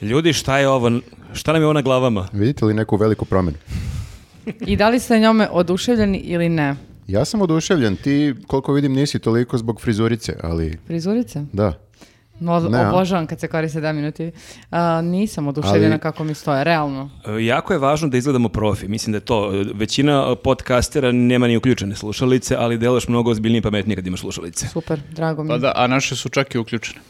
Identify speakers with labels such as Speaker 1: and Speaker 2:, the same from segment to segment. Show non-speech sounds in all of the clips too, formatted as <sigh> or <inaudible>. Speaker 1: Ljudi, šta je ovo? Šta nam je ovo na glavama?
Speaker 2: Vidite li neku veliku promjenu?
Speaker 3: I da li ste njome oduševljeni ili ne?
Speaker 2: Ja sam oduševljen, ti koliko vidim nisi toliko zbog frizurice, ali
Speaker 3: Prizorice?
Speaker 2: da.
Speaker 3: No,
Speaker 2: Ne, a?
Speaker 3: obožavam kad se koriste 7 minuti. A, nisam oduševljena
Speaker 2: Ali-
Speaker 3: kako mi stoje, realno.
Speaker 1: E, Jako je važno da izgledamo profi. Mislim da je to. e, Većina e, podcastera nema ni uključene slušalice, ali delaš mnogo ozbiljnije i pametnije kad imaš slušalice.
Speaker 3: Super, drago mi.
Speaker 4: Pa da, a naše su čak i uključene.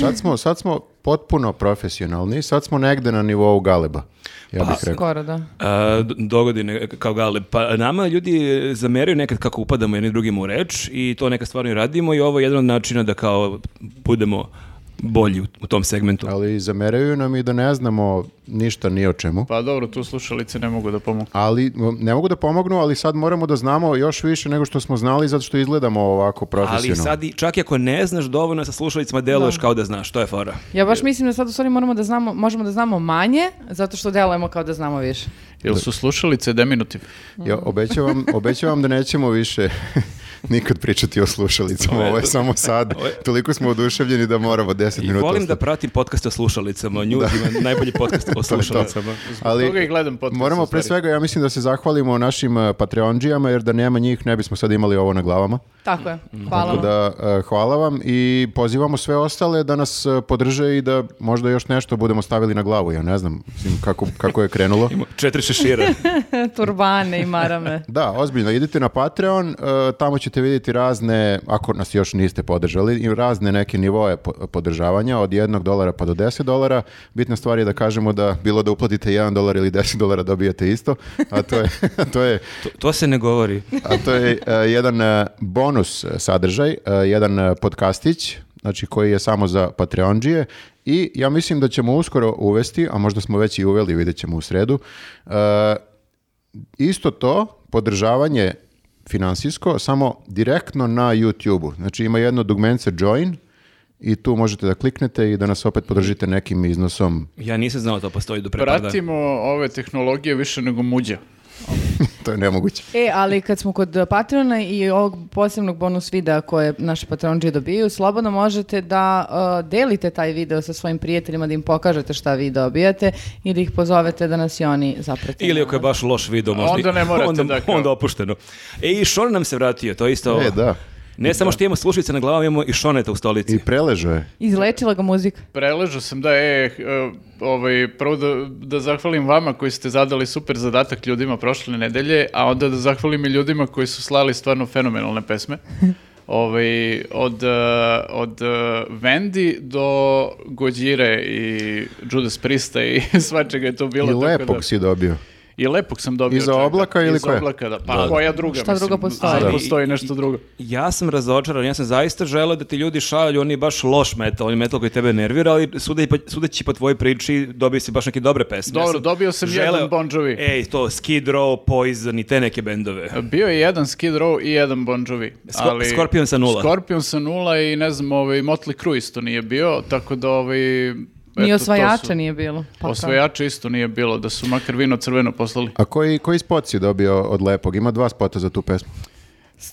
Speaker 2: Sad smo, sad smo potpuno profesionalni, sad smo negde na nivou galeba,
Speaker 1: Pa,
Speaker 2: ja bih Pa, rekao.
Speaker 3: Skoro, da.
Speaker 1: A, E, d- dogodine kao gale. Pa nama ljudi e, zameraju nekad kako upadamo jedni drugim u reč i to neka stvarno i radimo i ovo je jedan od načina da kao budemo bolji u, u tom segmentu.
Speaker 2: Ali zameraju nam i da ne znamo ništa ni o čemu.
Speaker 4: Pa dobro, tu slušalice ne mogu da pomogu.
Speaker 2: Ali m, ne mogu da pomognu, ali sad moramo da znamo još više nego što smo znali zato što izgledamo ovako
Speaker 1: Ali
Speaker 2: profesionalno.
Speaker 1: sad i, čak i ako ne znaš dovoljno sa slušalicama deluješ kao da znaš, to je fora.
Speaker 3: Ja baš mislim da sad u stvari moramo da znamo, možemo da znamo manje, zato što delujemo kao da znamo više.
Speaker 4: Jel su slušalice deminutiv?
Speaker 2: Ja obećavam, obećavam da nećemo više <laughs> nikad pričati o slušalicama, ovo je samo sad. Toliko smo oduševljeni da moramo 10
Speaker 1: I
Speaker 2: minuta.
Speaker 1: volim da
Speaker 2: ostati.
Speaker 1: pratim podcaste o slušalicama. Nju ima najbolji podcast o slušalicama.
Speaker 2: Ali
Speaker 4: toga i gledam podcast,
Speaker 2: Moramo
Speaker 4: u
Speaker 2: pre
Speaker 4: stvari.
Speaker 2: svega, ja mislim da se zahvalimo našim eh, Patreonđijama, jer da nema njih ne bismo sad imali ovo na glavama.
Speaker 3: Tako je,
Speaker 4: Mm.
Speaker 3: hvala vam.
Speaker 2: Da, eh, hvala vam i pozivamo sve ostale da nas eh, podrže i da možda još nešto budemo stavili na glavu. Ja ne znam mislim, kako, kako je krenulo.
Speaker 1: Ima Četiri šešira.
Speaker 3: <laughs> Turbane i marame.
Speaker 2: Da, ozbiljno, idite na Patreon, eh, tamo ćete vidjeti razne, ako nas još niste podržali, i razne neke nivoe po- podržavanja, od jednog dolara pa do 10 dolara. Bitna stvar je da kažemo da bilo da uplatite 1 dolar ili 10 dolara dobijete isto, a to je, <laughs> to je
Speaker 1: To, to se ne govori.
Speaker 2: A to je e, jedan e, bonus e, sadržaj, e, jedan e, podcastić, znači koji je samo za Patreonđije i ja mislim da ćemo uskoro uvesti, a možda smo već i uveli, vidjet ćemo u sredu, e, isto to podržavanje finansijsko samo direktno na YouTube-u. Znači ima jedno dugmence join i tu možete da kliknete i da nas opet podržite nekim iznosom.
Speaker 1: Ja nisam znao da to postoji do pre par dana.
Speaker 4: Pratimo ove tehnologije više nego muđa.
Speaker 2: To je nemoguće.
Speaker 3: E, ali kad smo kod Patreona i ovog posebnog bonus videa koje naši patronđe dobijaju, slobodno možete da uh, delite taj video sa svojim prijateljima, da im pokažete šta vi dobijate i da ih pozovete da nas i oni zaprate.
Speaker 1: Ili ako je baš loš video možda.
Speaker 4: Onda ne morate,
Speaker 1: onda,
Speaker 4: da, kao.
Speaker 1: onda opušteno. E i Šon nam se vratio, to je isto.
Speaker 2: E, da.
Speaker 1: Ne samo što imamo slušalice na glavi, imamo i Šoneta u stolici.
Speaker 2: I preležo je.
Speaker 3: Izlečila ga muzika.
Speaker 4: Preležao sam da je, e, ovaj, prvo da, da zahvalim vama koji ste zadali super zadatak ljudima prošle nedelje, a onda da zahvalim i ljudima koji su slali stvarno fenomenalne
Speaker 2: <laughs>
Speaker 4: pesme. Ovaj, od, e, od e, Wendy do Gojire i Judas Prista i <laughs> svačega je to bilo.
Speaker 2: I
Speaker 4: tako
Speaker 2: lepog si dobio.
Speaker 4: I lepog sam dobio.
Speaker 2: Iza
Speaker 4: čak,
Speaker 2: oblaka
Speaker 4: da.
Speaker 2: ili
Speaker 4: Iza
Speaker 2: koje?
Speaker 4: oblaka, da. Pa koja druga?
Speaker 3: Šta drugo postoji?
Speaker 4: ali
Speaker 1: Da.
Speaker 4: postoji nešto drugo.
Speaker 1: Ja sam razočaran, ja sam zaista želeo da ti ljudi šalju, on je baš loš metal, on je metal koji tebe nervira, ali sudeći po, sudeći po tvojoj priči dobio si baš neke dobre pesme.
Speaker 4: Dobro, dobio sam jedan Bon Jovi.
Speaker 1: Ej, to Skid Row, Poison i te neke bendove.
Speaker 4: Bio je jedan Skid Row i jedan Bon Jovi.
Speaker 1: Sko- Scorpion sa nula.
Speaker 4: Scorpion sa nula i ne znam, ovaj, Motley Crue isto nije bio, tako da ovaj... eto,
Speaker 3: Ni
Speaker 4: to
Speaker 3: osvajača
Speaker 4: su-
Speaker 3: nije bilo. Pa kao.
Speaker 4: Osvajača isto nije bilo, da su makar vino crveno poslali.
Speaker 2: A koji, koji spot si dobio od lepog? Ima dva spota za tu
Speaker 1: <laughs>
Speaker 2: pesmu.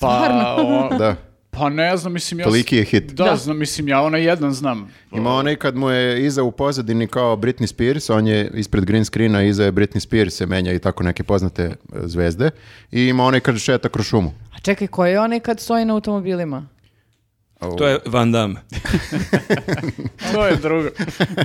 Speaker 4: Pa, o-
Speaker 2: <laughs> Da.
Speaker 4: pa ne znam, mislim ja...
Speaker 2: Toliki je hit.
Speaker 4: Da, znam, mislim ja onaj jedan
Speaker 2: <laughs>
Speaker 4: znam.
Speaker 2: Ima onaj kad mu je iza u pozadini kao Britney Spears, on je ispred green screena, iza je Britney Spears, se menja i tako neke poznate e, zvezde. I ima onaj kad šeta kroz šumu.
Speaker 3: A čekaj, ko je onaj kad stoji na automobilima?
Speaker 1: To je Van Damme.
Speaker 4: To je drugo.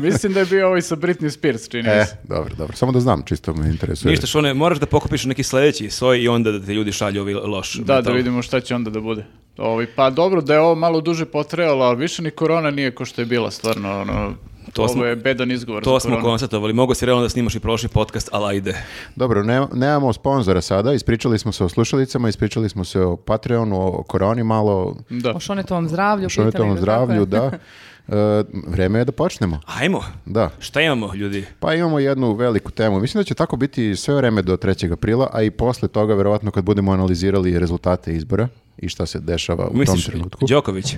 Speaker 4: mislim da je bio ovaj sa Britney Spears, čini mi
Speaker 2: E,
Speaker 4: se.
Speaker 2: dobro, dobro. Samo da znam, čisto me interesuje.
Speaker 1: Ništa što ne, moraš da pokupiš neki sledeći soj i onda da ti ljudi šalju ovi loš
Speaker 4: Da, da
Speaker 1: metal.
Speaker 4: vidimo šta će onda da bude. Ovaj, pa dobro da je ovo malo duže potrejalo, ali više ni korona nije ko što je bila, stvarno. Ono,
Speaker 1: To
Speaker 4: ovo
Speaker 1: smo-
Speaker 4: je bedan izgovor
Speaker 1: To
Speaker 4: za
Speaker 1: smo
Speaker 4: koronu.
Speaker 1: konstatovali. Mogu si realno da snimaš i prošli podcast, ali ajde.
Speaker 2: Dobro, ne, nemamo sponzora sada, ispričali smo se o slušalicama, ispričali smo se o Patreonu, o koroni malo,
Speaker 4: Da.
Speaker 3: O šonetovom zdravlju.
Speaker 2: o šonetovom
Speaker 3: pitali ga, tako
Speaker 2: zdravlju,
Speaker 3: je.
Speaker 1: <laughs>
Speaker 2: da. E, vreme je da počnemo.
Speaker 1: Ajmo.
Speaker 2: Da.
Speaker 1: Šta imamo, ljudi?
Speaker 2: Pa imamo jednu veliku temu. Mislim da će tako biti sve vreme do 3. aprila, a i posle toga verovatno kad budemo analizirali rezultate izbora i šta se dešava u tom
Speaker 1: Misliš,
Speaker 2: trenutku.
Speaker 1: Đoković.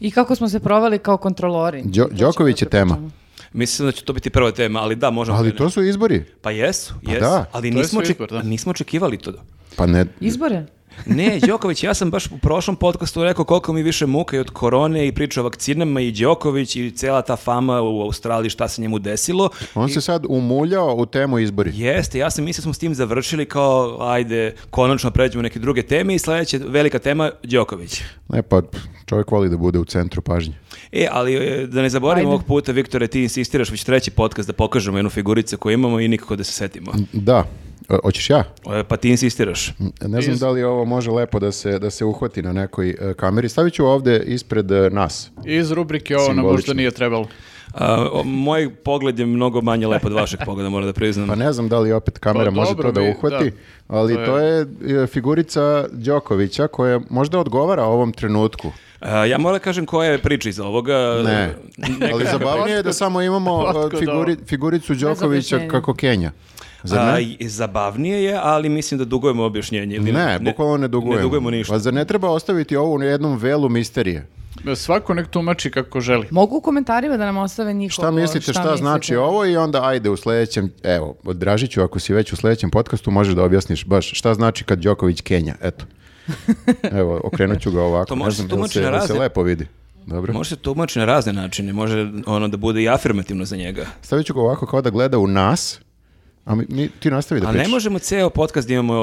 Speaker 3: I kako smo se provali kao kontrolori.
Speaker 2: Đo-
Speaker 3: To ćemo
Speaker 2: Đoković
Speaker 3: da
Speaker 2: je tema.
Speaker 3: pričamo.
Speaker 1: Mislim da će to biti prva tema, ali da, možemo.
Speaker 2: Ali to su izbori.
Speaker 1: Pa jesu,
Speaker 2: Pa
Speaker 1: jesu,
Speaker 2: da.
Speaker 1: ali
Speaker 4: To je
Speaker 1: nismo,
Speaker 4: sve
Speaker 1: oček-
Speaker 4: izbor, da.
Speaker 1: nismo očekivali to.
Speaker 2: Pa ne,
Speaker 3: Izbore?
Speaker 1: Ne, Đoković, ja sam baš u prošlom podcastu rekao koliko mi više muka i od korone i priča o vakcinama i Đoković i cela ta fama u Australiji šta se njemu desilo.
Speaker 2: On se sad umuljao u temu izbori.
Speaker 1: Jeste, ja sam mislio smo s tim završili kao ajde, konačno pređemo u neke druge teme i sledeća velika tema Đoković.
Speaker 2: Ne, pa pff, čovjek voli da bude u centru pažnje.
Speaker 1: E, ali e, da ne zaboravim
Speaker 3: Ajde.
Speaker 1: ovog puta, Viktore, ti insistiraš već treći podcast da pokažemo jednu figuricu koju imamo i nikako da se setimo.
Speaker 2: Da. E, Hoćeš ja?
Speaker 1: E, Pa ti insistiraš.
Speaker 2: Ne znam da li ovo može lepo da se, da se uhvati na nekoj e, kameri. Stavit ću ovde ispred e, nas.
Speaker 4: Iz rubrike ovo nam možda
Speaker 2: Simbolično.
Speaker 4: nije trebalo.
Speaker 1: A, o, moj pogled je mnogo manje lep od vašeg pogleda, moram da priznam.
Speaker 2: Pa ne znam da li opet kamera
Speaker 4: Pa
Speaker 2: može
Speaker 4: dobro,
Speaker 2: to da
Speaker 4: vi-
Speaker 2: uhvati,
Speaker 4: da.
Speaker 2: ali
Speaker 4: To je-
Speaker 2: to je, e, figurica Đokovića koja možda odgovara ovom trenutku.
Speaker 1: A, ja moram da kažem koja je priča iz ovoga.
Speaker 2: Ne,
Speaker 1: Neka-
Speaker 2: ali zabavnije je da samo imamo e,
Speaker 4: Otkud
Speaker 2: figuri- figuricu Đokovića
Speaker 3: objašnjenja.
Speaker 2: kako Kenja. Zar ne?
Speaker 1: A, i- zabavnije je, ali mislim da dugujemo objašnjenje. ili
Speaker 2: Ne, bukvalno ne dugujemo.
Speaker 1: Ne dugujemo ništa.
Speaker 2: Pa zar ne treba ostaviti ovo u jednom velu misterije?
Speaker 4: Svako nek tumači kako želi.
Speaker 3: Mogu u komentarima da nam ostave njihovo...
Speaker 2: Šta mislite, šta, znači ovo i onda ajde u sledećem, evo, Dražiću, ako si već u sledećem podcastu, možeš da objasniš baš šta znači kad Đoković Kenja, <laughs> eto. Evo, okrenut ću ga ovako,
Speaker 1: To
Speaker 2: ne
Speaker 1: može
Speaker 2: znam
Speaker 1: se
Speaker 2: jel
Speaker 1: tumači
Speaker 2: se,
Speaker 1: na
Speaker 2: jel se
Speaker 1: razne-
Speaker 2: lepo vidi. Dobro.
Speaker 1: Može se tumači na razne načine, može ono da bude i afirmativno za njega.
Speaker 2: Stavit ću ga ovako kao da gleda u nas, a mi, mi- ti nastavi da
Speaker 1: A
Speaker 2: pričaš.
Speaker 1: ne možemo ceo podcast da imamo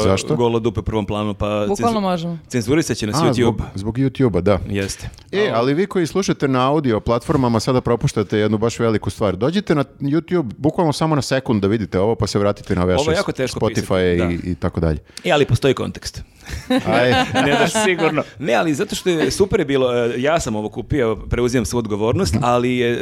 Speaker 1: e,
Speaker 2: Zašto?
Speaker 1: golo dupe u prvom planu, pa
Speaker 3: Bukvalno
Speaker 1: cenzu-
Speaker 3: možemo.
Speaker 1: cenzurisat će nas
Speaker 2: A,
Speaker 1: YouTube.
Speaker 2: zbog, zbog YouTube-a, da.
Speaker 1: Jeste.
Speaker 2: E, ali vi koji slušate na audio platformama sada propuštate jednu baš veliku stvar. Dođite na YouTube bukvalno samo na sekund da vidite ovo pa se vratite na ove
Speaker 1: Ovo je jako teško
Speaker 2: Spotify
Speaker 1: pisati,
Speaker 2: i, i tako dalje.
Speaker 1: E, ali postoji kontekst.
Speaker 2: Aj,
Speaker 1: <laughs>
Speaker 4: Ne daš <laughs> sigurno.
Speaker 1: Ne, ali zato što je super je bilo, e, ja sam ovo kupio, preuzimam svu odgovornost, ali je,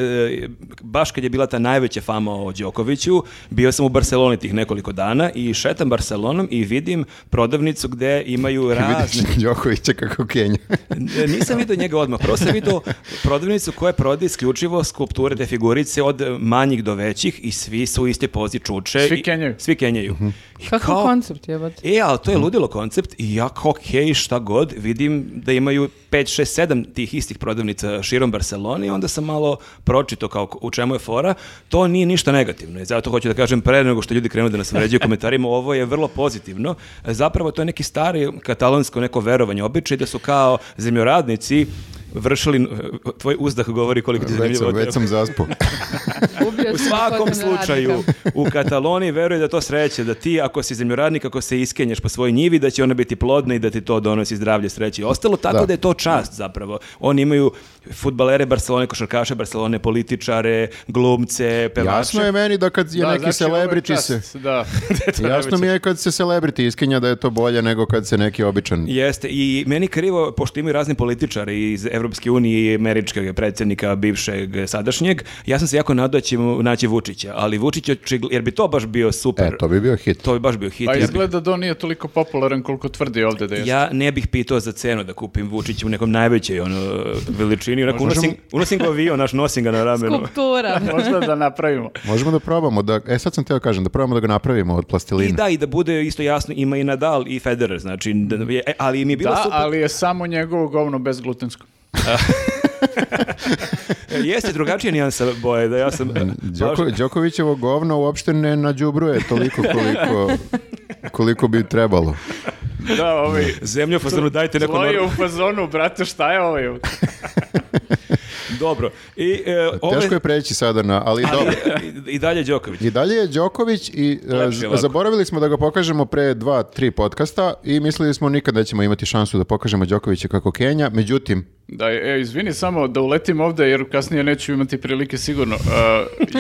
Speaker 1: e, baš kad je bila ta najveća fama o Đokoviću, bio sam u Barceloni tih nekoliko dana i šetam Barcelonom i vidim prodavnicu gde imaju razne...
Speaker 2: vidiš <laughs> Đokovića
Speaker 1: <laughs>
Speaker 2: kako Kenja.
Speaker 1: E, Nisam vidio njega odmah, prvo sam vidio prodavnicu koja prodaje isključivo skulpture te figurice od e, manjih do većih i svi su u iste pozi čuče.
Speaker 4: Svi
Speaker 1: i-
Speaker 4: kenjaju.
Speaker 1: Svi kenjaju. I
Speaker 3: Kakav
Speaker 1: kao-
Speaker 3: koncept je,
Speaker 1: E, ali to je ludilo koncept i ja kao okej, šta god, vidim da imaju 5, 6, 7 tih istih prodavnica širom Barcelone i onda sam malo pročito kao u čemu je fora. To nije ništa negativno i zato hoću da kažem pre nego što ljudi krenu da nas vređaju komentarima, <laughs> ovo je vrlo pozitivno. Zapravo to je neki stari katalonsko neko verovanje, običaj da su kao zemljoradnici vršili, tvoj uzdah govori koliko ti je
Speaker 2: Već
Speaker 1: zanimljivo.
Speaker 2: sam, već sam
Speaker 1: <laughs>
Speaker 2: zaspao.
Speaker 3: Ubio
Speaker 1: U
Speaker 3: sam
Speaker 1: svakom
Speaker 3: gospodina
Speaker 1: slučaju,
Speaker 3: radnika.
Speaker 1: u Kataloniji veruje da to sreće, da ti ako si zemljoradnik, ako se iskenješ po svojoj njivi, da će ona biti plodna i da ti to donosi zdravlje, sreće i ostalo, tako da,
Speaker 2: Da.
Speaker 1: je to čast zapravo. Oni imaju futbalere Barcelone, košarkaše Barcelone, političare, glumce, pevače.
Speaker 2: Jasno je meni da kad je
Speaker 4: Da,
Speaker 2: neki
Speaker 4: znači, ovo je
Speaker 2: celebrity se... <laughs>
Speaker 4: čast, Da.
Speaker 2: Jasno mi je kad se celebrity iskenja da je to bolje nego kad se neki običan...
Speaker 1: Jeste, i meni krivo, pošto imaju razni političari iz Evropske unije i američkog predsjednika, bivšeg, sadašnjeg, ja sam se jako nadao da ćemo naći Vučića, ali Vučić, je očigl- jer bi to baš bio super.
Speaker 2: E, to bi bio hit.
Speaker 1: To bi baš bio hit.
Speaker 4: Pa
Speaker 1: ja bih-
Speaker 4: izgleda da on nije toliko popularan koliko tvrdi ovdje da je.
Speaker 1: Ja ne bih pitao za cenu da kupim Vučića u nekom najvećoj ono, veličini. Onako, unosim, unosim ga u avion, naš nosim ga na ramenu.
Speaker 3: Skulptura.
Speaker 4: Možda da napravimo.
Speaker 2: Možemo da probamo da... E, sad sam teo kažem, da probamo da ga napravimo od
Speaker 1: I
Speaker 2: plastiline.
Speaker 1: da, i da bude isto jasno, ima i Nadal i Federer, znači, da- je- e, ali mi je <laughs> bilo
Speaker 4: Da,
Speaker 1: super.
Speaker 4: ali je samo njegovo govno bez glutensko.
Speaker 1: E, Jeste drugačija nijansa boje, da ja
Speaker 4: <laughs>
Speaker 1: sam...
Speaker 2: Đoko,
Speaker 1: baš-
Speaker 2: Đokovićevo govno uopšte ne nađubruje toliko
Speaker 1: <laughs>
Speaker 2: koliko, koliko bi trebalo.
Speaker 4: Da, ovaj...
Speaker 1: <laughs> Zemlju u fazonu, dajte neko...
Speaker 4: Zlo je
Speaker 1: normalno-
Speaker 4: u fazonu, brate, šta je ovaj?
Speaker 1: Dobro. I, e,
Speaker 4: Pa
Speaker 1: ove-
Speaker 2: Teško je preći sada na, ali
Speaker 1: ali,
Speaker 2: dobro.
Speaker 1: e, <laughs> I dalje Đoković.
Speaker 2: I dalje je Đoković i e,
Speaker 1: Lepše
Speaker 2: z-
Speaker 1: ovako.
Speaker 2: zaboravili smo da ga pokažemo pre dva, tri podcasta i mislili smo nikad nećemo imati šansu da pokažemo Đokovića kako Kenja, međutim,
Speaker 4: Da, e, izvini samo da uletim ovdje jer kasnije neću imati prilike sigurno. Uh,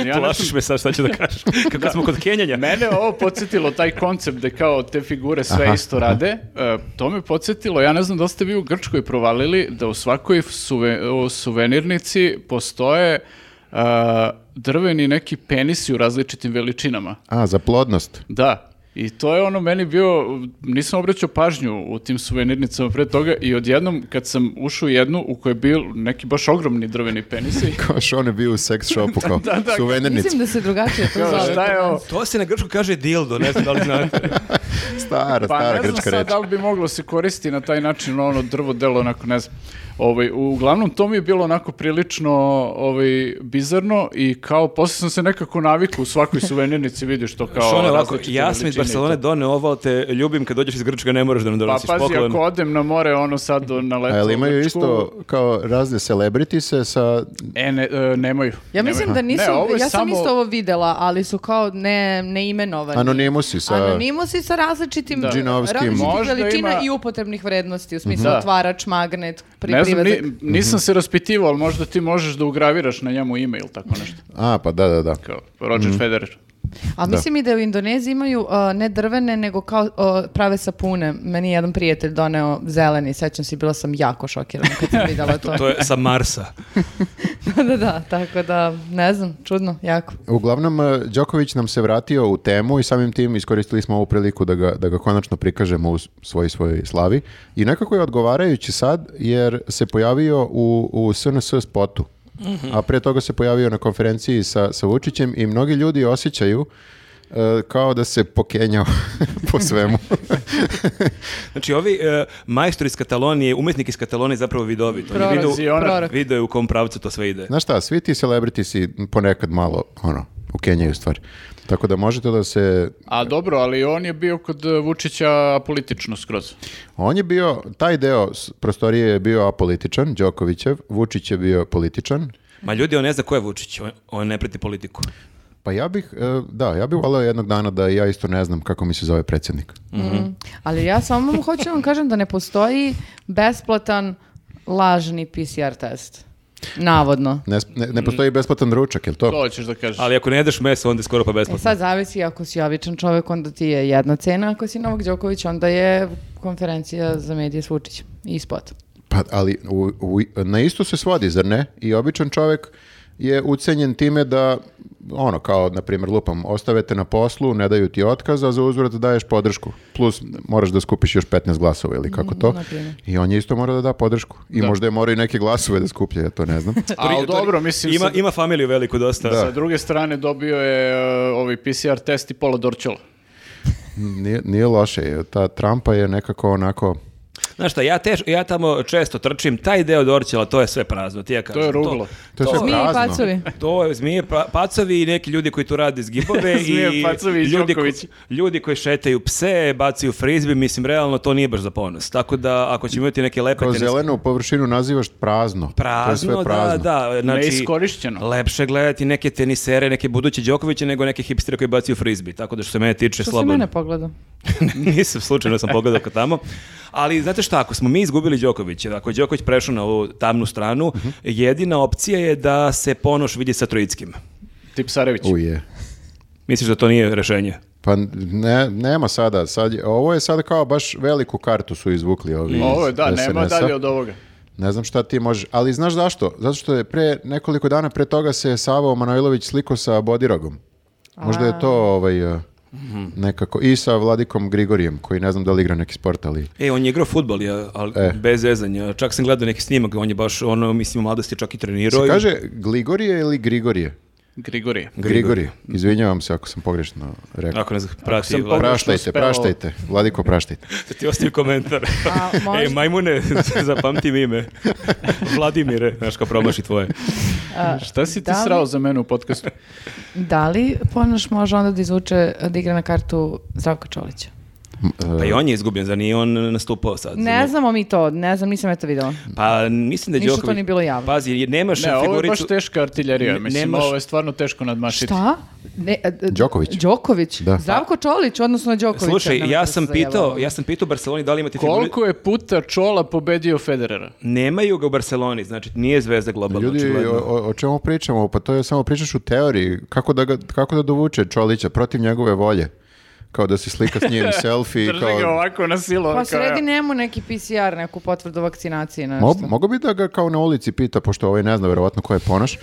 Speaker 4: ja ne
Speaker 1: Plašiš
Speaker 4: znam-
Speaker 1: me sad šta ću da
Speaker 4: <laughs>
Speaker 1: kažeš. Kako smo kod Kenjanja.
Speaker 4: Mene ovo podsjetilo, taj koncept da kao te figure sve isto rade, e, to me podsjetilo, ja ne znam da li ste vi u Grčkoj provalili, da u svakoj suve- u suvenirnici postoje e, drveni neki penisi u različitim veličinama.
Speaker 2: a, za plodnost. <laughs>
Speaker 4: Da. I to je ono meni bio, nisam obraćao pažnju u tim suvenirnicama pre toga i odjednom kad sam ušao u jednu u kojoj je bil neki baš ogromni drveni penisi,
Speaker 2: Kao što on je bio u sex shopu,
Speaker 4: <laughs>
Speaker 2: kao da,
Speaker 3: Mislim da se drugačije to
Speaker 4: kao
Speaker 3: zove.
Speaker 4: šta je ovo?
Speaker 1: To se na grčku kaže dildo, ne znam da li znate.
Speaker 2: stara,
Speaker 4: Pa
Speaker 2: stara
Speaker 4: ne znam
Speaker 2: grčka
Speaker 4: sad
Speaker 2: reč.
Speaker 4: da li bi moglo se koristiti na taj način ono drvo delo, onako ne znam. Ovaj, uglavnom to mi je bilo onako prilično ovaj, bizarno i kao posle sam se nekako navikao u svakoj suvenirnici vidiš to kao
Speaker 1: Šone, ono ovako,
Speaker 4: različite
Speaker 1: ja sam iz
Speaker 4: veličine.
Speaker 1: Barcelone doneo ovo, ali te ljubim kad dođeš iz Grčka, ne moraš da nam
Speaker 4: Pa
Speaker 1: donosiš
Speaker 4: pazi,
Speaker 1: poklon.
Speaker 4: ako odem na more, ono sad na letu.
Speaker 2: A jel
Speaker 4: u
Speaker 2: imaju
Speaker 4: Grčku-
Speaker 2: isto kao razne celebritise sa...
Speaker 4: E, ne, e, nemaju.
Speaker 3: Ja mislim da nisu,
Speaker 4: Ne, ovo je
Speaker 3: ja sam
Speaker 4: samo-
Speaker 3: isto ovo videla, ali su kao ne, neimenovani.
Speaker 2: Anonimusi sa-
Speaker 3: Anonimusi sa različitim,
Speaker 4: Da.
Speaker 2: Džinovskim.
Speaker 3: različitih
Speaker 4: Možda
Speaker 3: veličina
Speaker 4: ima-
Speaker 3: i upotrebnih vrednosti, u smislu
Speaker 4: Da.
Speaker 3: otvarač, magnet, pri,
Speaker 4: Ne znam,
Speaker 3: privezak.
Speaker 4: ni-
Speaker 2: Mhm.
Speaker 4: nisam se raspitivao, ali možda ti možeš da ugraviraš na njemu ime ili tako nešto.
Speaker 2: A, pa da, da, da.
Speaker 4: Kao Roger
Speaker 2: Mhm.
Speaker 4: Federer.
Speaker 3: A mislim i da u Indoneziji imaju a, ne drvene, nego kao a, prave sapune. Meni je jedan prijatelj doneo zeleni, sećam se, bila sam jako šokirana kad sam videla to.
Speaker 1: To je sa Marsa.
Speaker 3: <laughs> da, da, da, tako da, ne znam, čudno, jako.
Speaker 2: Uglavnom, eh, Đoković nam se vratio u temu i samim tim iskoristili smo ovu priliku da ga, da ga konačno prikažemo u s- svoj svojoj slavi. I nekako je odgovarajući sad, jer se pojavio u, u SNS spotu. A pre toga se pojavio na konferenciji sa, sa Vučićem i mnogi ljudi osjećaju eh, kao da se pokenjao <laughs> po svemu.
Speaker 1: Znači, ovi e, majstori iz Katalonije, umetnik iz Katalonije zapravo vidovi. Oni
Speaker 3: Prorok,
Speaker 1: vidu,
Speaker 4: Vizionar.
Speaker 3: prorok. Mhm.
Speaker 1: vidu je u kom pravcu to sve ide.
Speaker 2: Znaš šta, svi ti celebritisi ponekad malo, ono, ukenjaju stvari. Tako da možete da se
Speaker 4: A dobro, ali on je bio kod e, Vučića apolitično skroz.
Speaker 2: On je bio, taj deo s- prostorije je bio apolitičan, Đokovićev, Vučić je bio političan.
Speaker 1: Ma ljudi, on ne zna ko je Vučić, on, on ne prati politiku.
Speaker 2: Pa ja bih, e, da, ja bih voleo jednog dana da ja isto ne znam kako mi se zove predsjednik. Mhm.
Speaker 3: Ali ja samo vam hoću vam kažem da ne postoji besplatan lažni PCR test. Navodno.
Speaker 2: Ne, s- ne, ne postoji besplatan ručak, jel to?
Speaker 4: To hoćeš da kažeš.
Speaker 1: Ali ako ne jedeš meso, onda je skoro pa
Speaker 3: E
Speaker 1: besplatno.
Speaker 3: sad zavisi ako si običan čovjek, onda ti je jedna cena, ako si Novak Đoković, onda je konferencija za medije s Vučićem i spot.
Speaker 2: Pa, ali u, u- na isto se svodi, zar ne? I običan čovjek je ucenjen time da, ono, kao, na primjer, lupam, ostave te na poslu, ne daju ti otkaz, a za uzvrat daješ podršku. Plus, moraš da skupiš još 15 glasova ili kako to.
Speaker 3: na primjer.
Speaker 2: I on je isto mora da da podršku. I možda je morao i neke glasove da skuplja, ja to
Speaker 1: <laughs>
Speaker 2: ne znam.
Speaker 1: To nije-
Speaker 4: Ali
Speaker 1: to
Speaker 4: dobro,
Speaker 1: nije-
Speaker 4: mislim,
Speaker 1: Ima,
Speaker 4: sa,
Speaker 1: ima familiju veliku dosta.
Speaker 4: sa druge strane dobio je e, ovaj PCR test i pola Dorčola.
Speaker 2: Nije, nije loše. Ta Trumpa je nekako onako...
Speaker 1: Znaš šta, ja, teš, ja tamo često trčim, taj deo Dorćela, to je sve prazno, ti ja kažem.
Speaker 4: ruglo.
Speaker 2: To je sve
Speaker 3: Mi i
Speaker 2: prazno.
Speaker 3: pacovi.
Speaker 1: <laughs> To je zmije pa- pacovi i neki ljudi koji tu rade zgibove
Speaker 4: <laughs> Zmije,
Speaker 1: i
Speaker 4: pacovi i
Speaker 1: ljudi, ko-
Speaker 4: Đoković.
Speaker 1: ljudi koji šetaju pse, bacaju frizbi, mislim realno to nije baš za ponos. Tako da ako ćemo imati neke lepe
Speaker 2: Kao
Speaker 1: teniske-
Speaker 2: zelenu površinu nazivaš prazno. to je
Speaker 1: prazno,
Speaker 2: sve prazno.
Speaker 1: da, da, znači
Speaker 4: Neiskorišćeno.
Speaker 1: Lepše gledati neke tenisere, neke buduće Đokoviće nego neke hipstere koji bacaju frizbi. Tako da što se mene tiče
Speaker 3: Što si
Speaker 1: slobodno.
Speaker 3: mene
Speaker 1: <laughs>
Speaker 3: pogledao?
Speaker 1: Nisam slučajno sam pogledao ka tamo. Ali znate šta, ako smo mi izgubili Đokovića, ako je Đoković prešao na ovu tamnu stranu,
Speaker 4: Mhm.
Speaker 1: jedina opcija je da se Ponoš vidi sa Trojickim.
Speaker 4: Tip Sarević.
Speaker 2: Uje.
Speaker 1: Misliš da to nije rešenje?
Speaker 2: Pa ne, nema sada. sad je- ovo je sada kao baš veliku kartu su izvukli ovi
Speaker 4: Mm. Ovo je,
Speaker 2: iz
Speaker 4: da, nema
Speaker 2: SNS-a.
Speaker 4: dalje od ovoga.
Speaker 2: Ne znam šta ti možeš. Ali znaš zašto? Zato što je pre nekoliko dana pre toga se Savo Manojlović sliko sa Bodirogom. Možda je to ovaj, eh, nekako. I sa Vladikom Grigorijem, koji ne znam da li igra neki sport, ali...
Speaker 1: E, on je igrao futbol, ja, ali
Speaker 2: E.
Speaker 1: bez zezanja. Čak sam gledao neki snimak, on je baš, ono, mislim, u mladosti čak i trenirao.
Speaker 2: Se
Speaker 1: i-
Speaker 2: kaže Gligorije ili Grigorije?
Speaker 4: Grigorije.
Speaker 2: Grigori, izvinjavam se ako sam pogrešno rekao.
Speaker 1: Ako ne znam, prati,
Speaker 4: sam
Speaker 1: Vlad,
Speaker 4: pogledao-
Speaker 2: Praštajte,
Speaker 4: uspeo-
Speaker 2: praštajte, Vladiko praštajte.
Speaker 1: ti ostavi komentar.
Speaker 3: <laughs> A, možda-
Speaker 1: Ej, majmune, <laughs> zapamtim ime. Vladimire, znaš kao promaši tvoje.
Speaker 4: E, Šta si ti
Speaker 3: da li-
Speaker 4: srao za mene u <laughs> podcastu?
Speaker 3: Da li Ponoš može onda da izvuče da igra na kartu Zdravka Čolića?
Speaker 1: Pa
Speaker 2: eh,
Speaker 1: i on je izgubljen, zar nije on nastupao sad?
Speaker 3: Ne znamo mi to, ne znam, nisam ja to videla.
Speaker 1: Pa mislim da
Speaker 3: Ništa
Speaker 1: Đoković...
Speaker 3: to nije bilo javno.
Speaker 1: Pazi, jer nemaš
Speaker 4: Ne, ovo je
Speaker 1: figuricu...
Speaker 4: baš teška artiljerija.
Speaker 1: Ne-
Speaker 4: Mislim,
Speaker 1: nemaš-
Speaker 4: ovo je stvarno teško nadmašiti.
Speaker 3: Šta? Ne, a, a,
Speaker 2: Đoković.
Speaker 3: Đoković?
Speaker 2: Da.
Speaker 3: Zdravko Čolić, odnosno Đoković.
Speaker 1: Slušaj, ja sam pitao, ja sam pitao u Barceloni da li imate figuricu.
Speaker 4: Koliko je puta Čola pobedio Federera?
Speaker 1: Nemaju ga u Barceloni, znači nije zvezda
Speaker 4: Pa
Speaker 1: globalno.
Speaker 2: Ljudi, o,
Speaker 1: očigledno.
Speaker 4: ono-
Speaker 2: o- o čemu pričamo? Pa to je samo pričaš u teoriji. Kako da, ga, kako da dovuče Čolića protiv njegove volje? Kao da se slika s njim
Speaker 4: <laughs>
Speaker 2: selfie.
Speaker 4: Drži ga
Speaker 2: kao...
Speaker 4: ovako na silu.
Speaker 3: Pa
Speaker 4: kao-
Speaker 3: sredi njemu neki PCR, neku potvrdu vakcinacije, nešto.
Speaker 2: Mo, mogu bi da ga kao na ulici pita, pošto ovaj ne zna verovatno ko je
Speaker 4: <laughs>
Speaker 2: ponoš.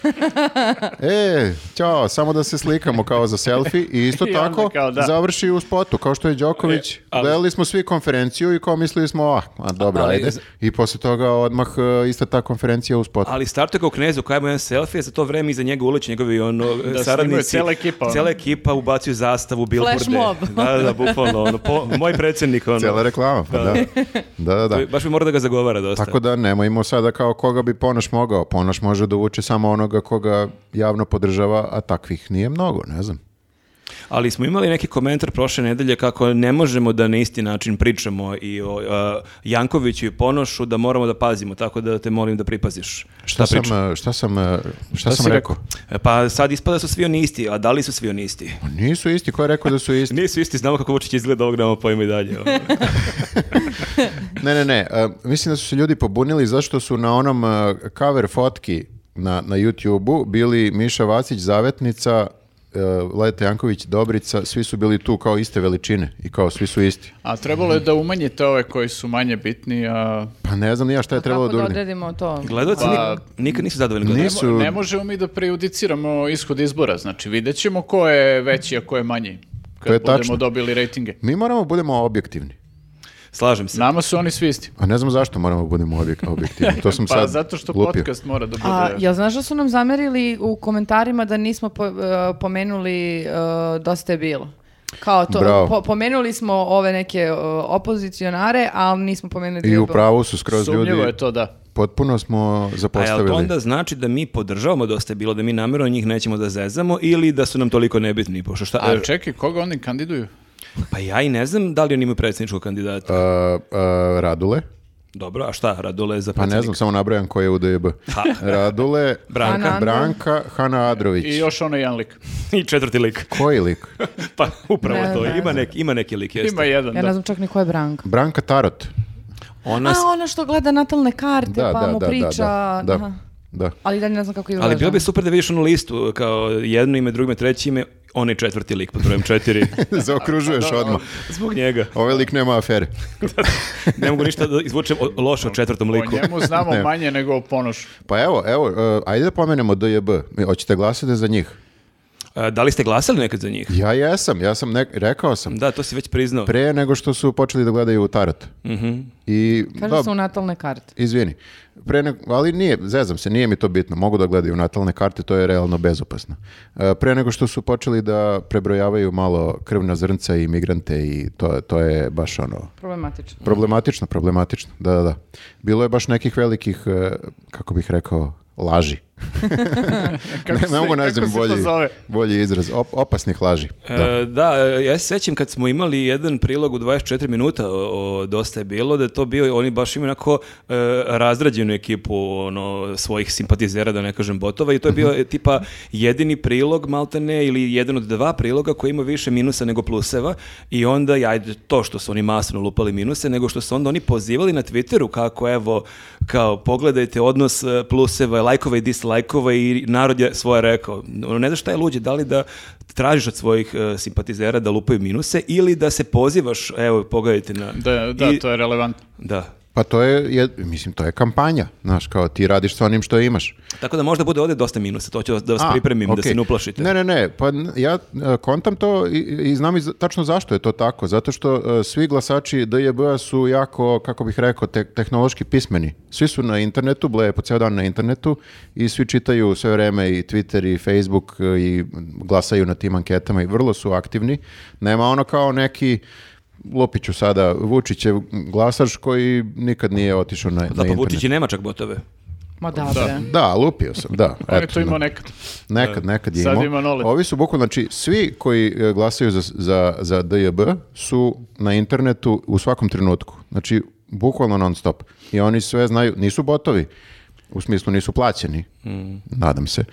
Speaker 2: e, ćao, samo da se slikamo kao za selfie i isto
Speaker 4: <laughs> I onda
Speaker 2: tako
Speaker 4: kao da. E,
Speaker 2: završi u spotu, kao što je Đoković. Gledali smo svi konferenciju i kao mislili smo, ah, a, dobro,
Speaker 1: Ali-
Speaker 2: ajde. I posle toga odmah e, ista ta konferencija u spotu.
Speaker 1: Ali startuje kao knezu, kao ima jedan selfie, za to vreme iza njega uleće njegovi ono,
Speaker 4: snimaju
Speaker 1: saradnici.
Speaker 4: cela ekipa, ono.
Speaker 1: Cela ekipa ubacuju zastavu, billboarde.
Speaker 3: Flash mob.
Speaker 1: Da, da, bukvalno. Ono, po- moj predsjednik. Ono,
Speaker 2: Cijela reklama, pa
Speaker 4: <laughs>
Speaker 2: da. Da, da, da.
Speaker 1: Baš mi mora da ga zagovara dosta.
Speaker 2: Tako da nemojmo sada kao koga bi Ponoš mogao. Ponoš može da uvuče samo onoga koga javno podržava, a takvih nije mnogo, ne znam.
Speaker 1: Ali smo imali neki komentar prošle nedelje kako ne možemo da na isti način pričamo i o e, Jankoviću i Ponošu, da moramo da pazimo, tako da te molim da pripaziš.
Speaker 2: Šta,
Speaker 1: pričam.
Speaker 2: sam, e, šta sam, e, šta
Speaker 4: si
Speaker 2: sam rekao?
Speaker 1: E, Pa sad ispada da su svi oni isti, a da li su svi oni isti?
Speaker 2: Pa Nisu isti, ko je rekao <laughs> da su isti?
Speaker 1: Nisu isti, znamo kako Vučić izgleda ovog nama pojma i dalje. ono.
Speaker 2: Ne, ne, ne, e, mislim da su se ljudi pobunili zašto su na onom e, cover fotki na, na YouTube-u bili Miša Vacić, Zavetnica, e, Leta Janković, Dobrica, svi su bili tu kao iste veličine i kao svi su isti.
Speaker 4: A trebalo je da umanjite ove koji su manje bitni, a
Speaker 2: Pa ne znam ni ja šta je trebalo
Speaker 3: Kako
Speaker 2: da
Speaker 3: da
Speaker 2: uradim.
Speaker 3: odredimo to?
Speaker 1: Gledalci
Speaker 4: Pa-
Speaker 1: nik- nikad nisu zadovoljni. gledaocima.
Speaker 2: Nisu.
Speaker 4: ne možemo mi da prejudiciramo ishod izbora. Znači, vidjet ćemo ko je veći, a ko je manji. Kad
Speaker 2: To je
Speaker 4: budemo
Speaker 2: tačno.
Speaker 4: dobili rejtinge.
Speaker 2: Mi moramo budemo objektivni.
Speaker 1: Slažem se.
Speaker 4: Nama su oni svi isti.
Speaker 2: A ne znam zašto moramo budemo
Speaker 4: <laughs>
Speaker 2: objek- objektivni. E, To sam
Speaker 4: Pa
Speaker 2: sad
Speaker 4: zato što
Speaker 2: lupio.
Speaker 4: podcast mora da bude...
Speaker 3: A, jel znaš da su nam zamerili u komentarima da nismo po- e, pomenuli e, dosta je bilo? Kao to,
Speaker 2: Bravo.
Speaker 3: po- pomenuli smo ove neke e, opozicionare, ali nismo pomenuli da
Speaker 2: I
Speaker 3: je
Speaker 2: u
Speaker 3: bilo.
Speaker 2: pravu su skroz
Speaker 4: Sumnjivo
Speaker 2: ljudi.
Speaker 4: je to, da.
Speaker 2: Potpuno smo
Speaker 1: A jel
Speaker 2: zapostavili.
Speaker 1: to onda znači da mi podržavamo dosta je bilo, da mi namjerno njih nećemo da zezamo ili da su nam toliko nebitni? Pošto šta, e,
Speaker 4: A čekaj, koga oni kandiduju?
Speaker 1: pa ja i ne znam da li oni imaju predsjedničkog kandidata.
Speaker 2: E, e, Radule?
Speaker 1: Dobro, a šta, Radule za
Speaker 2: Pa
Speaker 1: predsjednika?
Speaker 2: ne znam, samo nabrajam ko je u DJB. Radule,
Speaker 1: Branka.
Speaker 3: Hanna.
Speaker 2: Branka, Hana Adrović.
Speaker 4: I još onaj jedan lik.
Speaker 1: <laughs> I četvrti lik.
Speaker 4: <laughs>
Speaker 2: Koji lik?
Speaker 1: Pa upravo
Speaker 3: Ne,
Speaker 1: to.
Speaker 3: ne
Speaker 1: Ima,
Speaker 3: znam.
Speaker 1: nek, ima neki lik, jeste.
Speaker 4: Ima jedan,
Speaker 3: Ja ne
Speaker 4: da.
Speaker 3: znam čak ni ko je Branka.
Speaker 2: Branka Tarot.
Speaker 1: Ona, s-
Speaker 3: A, ona što gleda natalne karte,
Speaker 2: Da,
Speaker 3: pa
Speaker 2: da,
Speaker 3: mu
Speaker 2: da,
Speaker 3: priča...
Speaker 2: da, da, da.
Speaker 3: aha.
Speaker 2: da. <laughs>
Speaker 3: Ali dalje ne znam kako je
Speaker 1: ali bilo bi super da vidiš onu listu kao jedno ime, drugo ime, treće ime, onaj četvrti lik pod brojem
Speaker 4: <laughs>
Speaker 1: četiri.
Speaker 2: Zaokružuješ odmah.
Speaker 1: Zbog njega.
Speaker 2: Ovaj lik nema afere.
Speaker 1: Ne mogu ništa da izvučem o- loše o četvrtom
Speaker 4: O
Speaker 1: liku.
Speaker 4: njemu znamo
Speaker 2: <laughs> Ne.
Speaker 4: manje nego o ponošu.
Speaker 2: Pa evo, evo, e, ajde da pomenemo DJB. Hoćete glasati za njih?
Speaker 1: A, Da li ste glasali nekad za njih?
Speaker 2: Ja jesam, ja sam nek- rekao sam.
Speaker 1: Da, to si već priznao.
Speaker 2: Pre nego što su počeli da gledaju u Tarot.
Speaker 4: Mhm.
Speaker 2: I,
Speaker 3: Kaže
Speaker 2: da,
Speaker 3: su natalne karte.
Speaker 2: izvini. Pre nego, ali nije, zezam se, nije mi to bitno. Mogu da gledaju natalne karte, to je realno bezopasno. E, Pre nego što su počeli da prebrojavaju malo krvna zrnca i migrante i to, to je baš ono...
Speaker 3: Problematično.
Speaker 2: Problematično, problematično, da, da, da. Bilo je baš nekih velikih, e, kako bih rekao, laži.
Speaker 4: <laughs>
Speaker 2: <laughs>
Speaker 4: Kako
Speaker 2: ne,
Speaker 4: se-
Speaker 2: ne mogu naći
Speaker 4: kako se to
Speaker 2: bolji,
Speaker 4: zove?
Speaker 2: bolji izraz. Op- opasnih laži.
Speaker 1: E, da, e, ja se sećam kad smo imali jedan prilog u 24 minuta o, o Dosta je bilo, da je to bio, oni baš imaju onako e, razrađenu ekipu ono, svojih simpatizera, da ne kažem botova, i to je bio e, tipa jedini prilog, malte ne, ili jedan od dva priloga koji ima više minusa nego pluseva, i onda, ja, ajde, to što su oni masno lupali minuse, nego što su onda oni pozivali na Twitteru kako, evo, kao, pogledajte odnos e, pluseva, lajkova i dislajkova i narod je svoje rekao. Ono, Ne znaš šta je luđe, da li da tražiš od svojih e, simpatizera da lupaju minuse ili da se pozivaš, evo, pogledajte na...
Speaker 4: Da, da,
Speaker 1: I-
Speaker 4: to je relevantno.
Speaker 1: Da.
Speaker 2: Pa to je, je, mislim, to je kampanja. Znaš, kao ti radiš sa onim što imaš.
Speaker 1: Tako da možda bude ovdje dosta minusa, to ću vas- da vas
Speaker 2: A,
Speaker 1: pripremim, da
Speaker 2: okej.
Speaker 1: se ne uplašite.
Speaker 2: Ne, ne, ne, pa n- ja e, kontam to i, i znam i za- tačno zašto je to tako, zato što e, svi glasači DJB-a su jako, kako bih rekao, te- tehnološki pismeni. Svi su na internetu, bleje po ceo dan na internetu i svi čitaju sve vreme i Twitter i Facebook e, i glasaju na tim anketama i vrlo su aktivni. Nema ono kao neki Lopiću sada, Vučićev glasač koji nikad nije otišao na,
Speaker 1: Da,
Speaker 2: na
Speaker 1: pa
Speaker 2: internet.
Speaker 1: Vučić i nema čak botove.
Speaker 3: Ma da, bre.
Speaker 2: Da, lupio sam,
Speaker 4: <laughs>
Speaker 2: da.
Speaker 4: On je
Speaker 2: eto,
Speaker 4: to imao
Speaker 2: da.
Speaker 4: nekad.
Speaker 2: Nekad, nekad je
Speaker 4: Sad
Speaker 2: imao.
Speaker 4: ima nolet.
Speaker 2: Ovi su bukvalno, znači svi koji e, glasaju za, za, za DJB su na internetu u svakom trenutku. Znači, bukvalno non stop. I oni sve znaju, nisu botovi, u smislu nisu plaćeni, nadam se,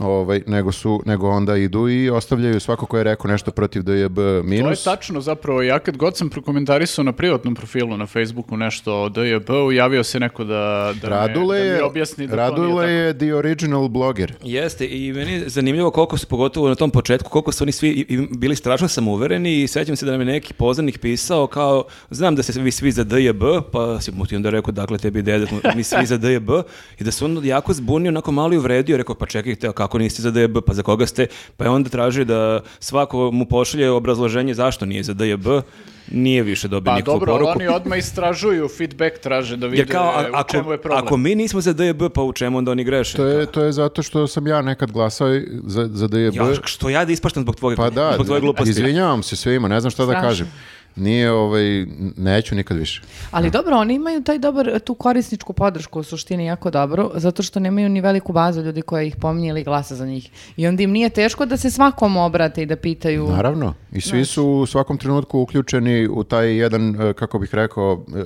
Speaker 2: ovaj, nego, su, nego onda idu i ostavljaju svako ko je rekao nešto protiv DJB
Speaker 4: To je
Speaker 2: minus.
Speaker 4: tačno zapravo. Ja kad god sam prokomentarisao na privatnom profilu na Facebooku nešto o DJB-u, javio se neko da, da, me-
Speaker 2: Radule
Speaker 4: da mi
Speaker 2: je,
Speaker 4: objasni da to nije
Speaker 2: Radule
Speaker 4: tako.
Speaker 2: je the original blogger.
Speaker 1: Jeste, i meni je zanimljivo koliko su, pogotovo na tom početku, koliko su oni svi i- i bili strašno samouvereni i sećam se da nam je neki poznanik pisao kao, znam da ste vi svi za DJB, pa si mu ti onda rekao, dakle, tebi dede, mi svi za DJB, i da se on jako zbunio, onako malo i uvredio, rekao, pa čekajte, a kako niste za DJB, pa za koga ste, pa je onda tražio da svako mu pošalje obrazloženje zašto nije za DJB, nije više dobio
Speaker 4: Pa
Speaker 1: nikakvu
Speaker 4: dobro, ali
Speaker 1: poruku.
Speaker 4: oni odmah istražuju, feedback traže da vide
Speaker 1: Jer kao, a-
Speaker 4: e, u
Speaker 1: ako,
Speaker 4: čemu je problem.
Speaker 1: ako mi nismo za DJB, pa u čemu onda oni greše?
Speaker 2: To je, to je zato što sam ja nekad glasao i za, za DJB.
Speaker 1: Ja, što ja da ispaštam zbog tvoje,
Speaker 2: Pa da,
Speaker 1: zbog tvoje gluposti.
Speaker 2: izvinjavam se svima, ne znam šta da
Speaker 3: Strašno.
Speaker 2: kažem. Nije, ovaj, neću nikad više.
Speaker 3: Ali dobro, oni imaju taj dobar, tu korisničku podršku u suštini jako dobro, zato što nemaju ni veliku bazu ljudi koja ih pominje ili glasa za njih. I onda im nije teško da se svakom obrate i da pitaju.
Speaker 2: Naravno. I svi su u svakom trenutku uključeni u taj jedan, e, kako bih rekao, e, e,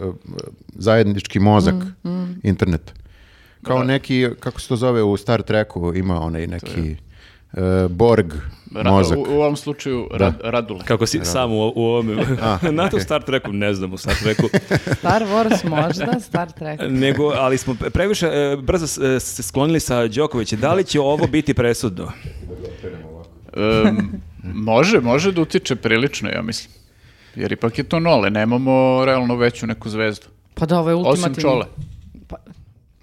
Speaker 2: zajednički mozak,
Speaker 1: Mm,
Speaker 2: internet. Kao neki, kako se to zove u Star Treku, ima onaj neki e, Borg
Speaker 4: Ra-
Speaker 2: mozak.
Speaker 4: u, u ovom slučaju rad, Radule.
Speaker 1: Kako si sam u, u ovome.
Speaker 4: <laughs>
Speaker 1: <laughs> Na to Star Treku, ne znam u Star Treku. <laughs>
Speaker 3: Star Wars možda, Star Trek.
Speaker 1: Nego, ali smo pre- previše e, brzo s- e, se sklonili sa Đokovićem. Da li će ovo biti
Speaker 4: <laughs>
Speaker 1: presudno?
Speaker 4: Em, može, može da utiče prilično, ja mislim. Jer ipak je to nole, nemamo realno veću neku zvezdu.
Speaker 3: Pa da, ovo je ultimativno.
Speaker 4: Osim čole.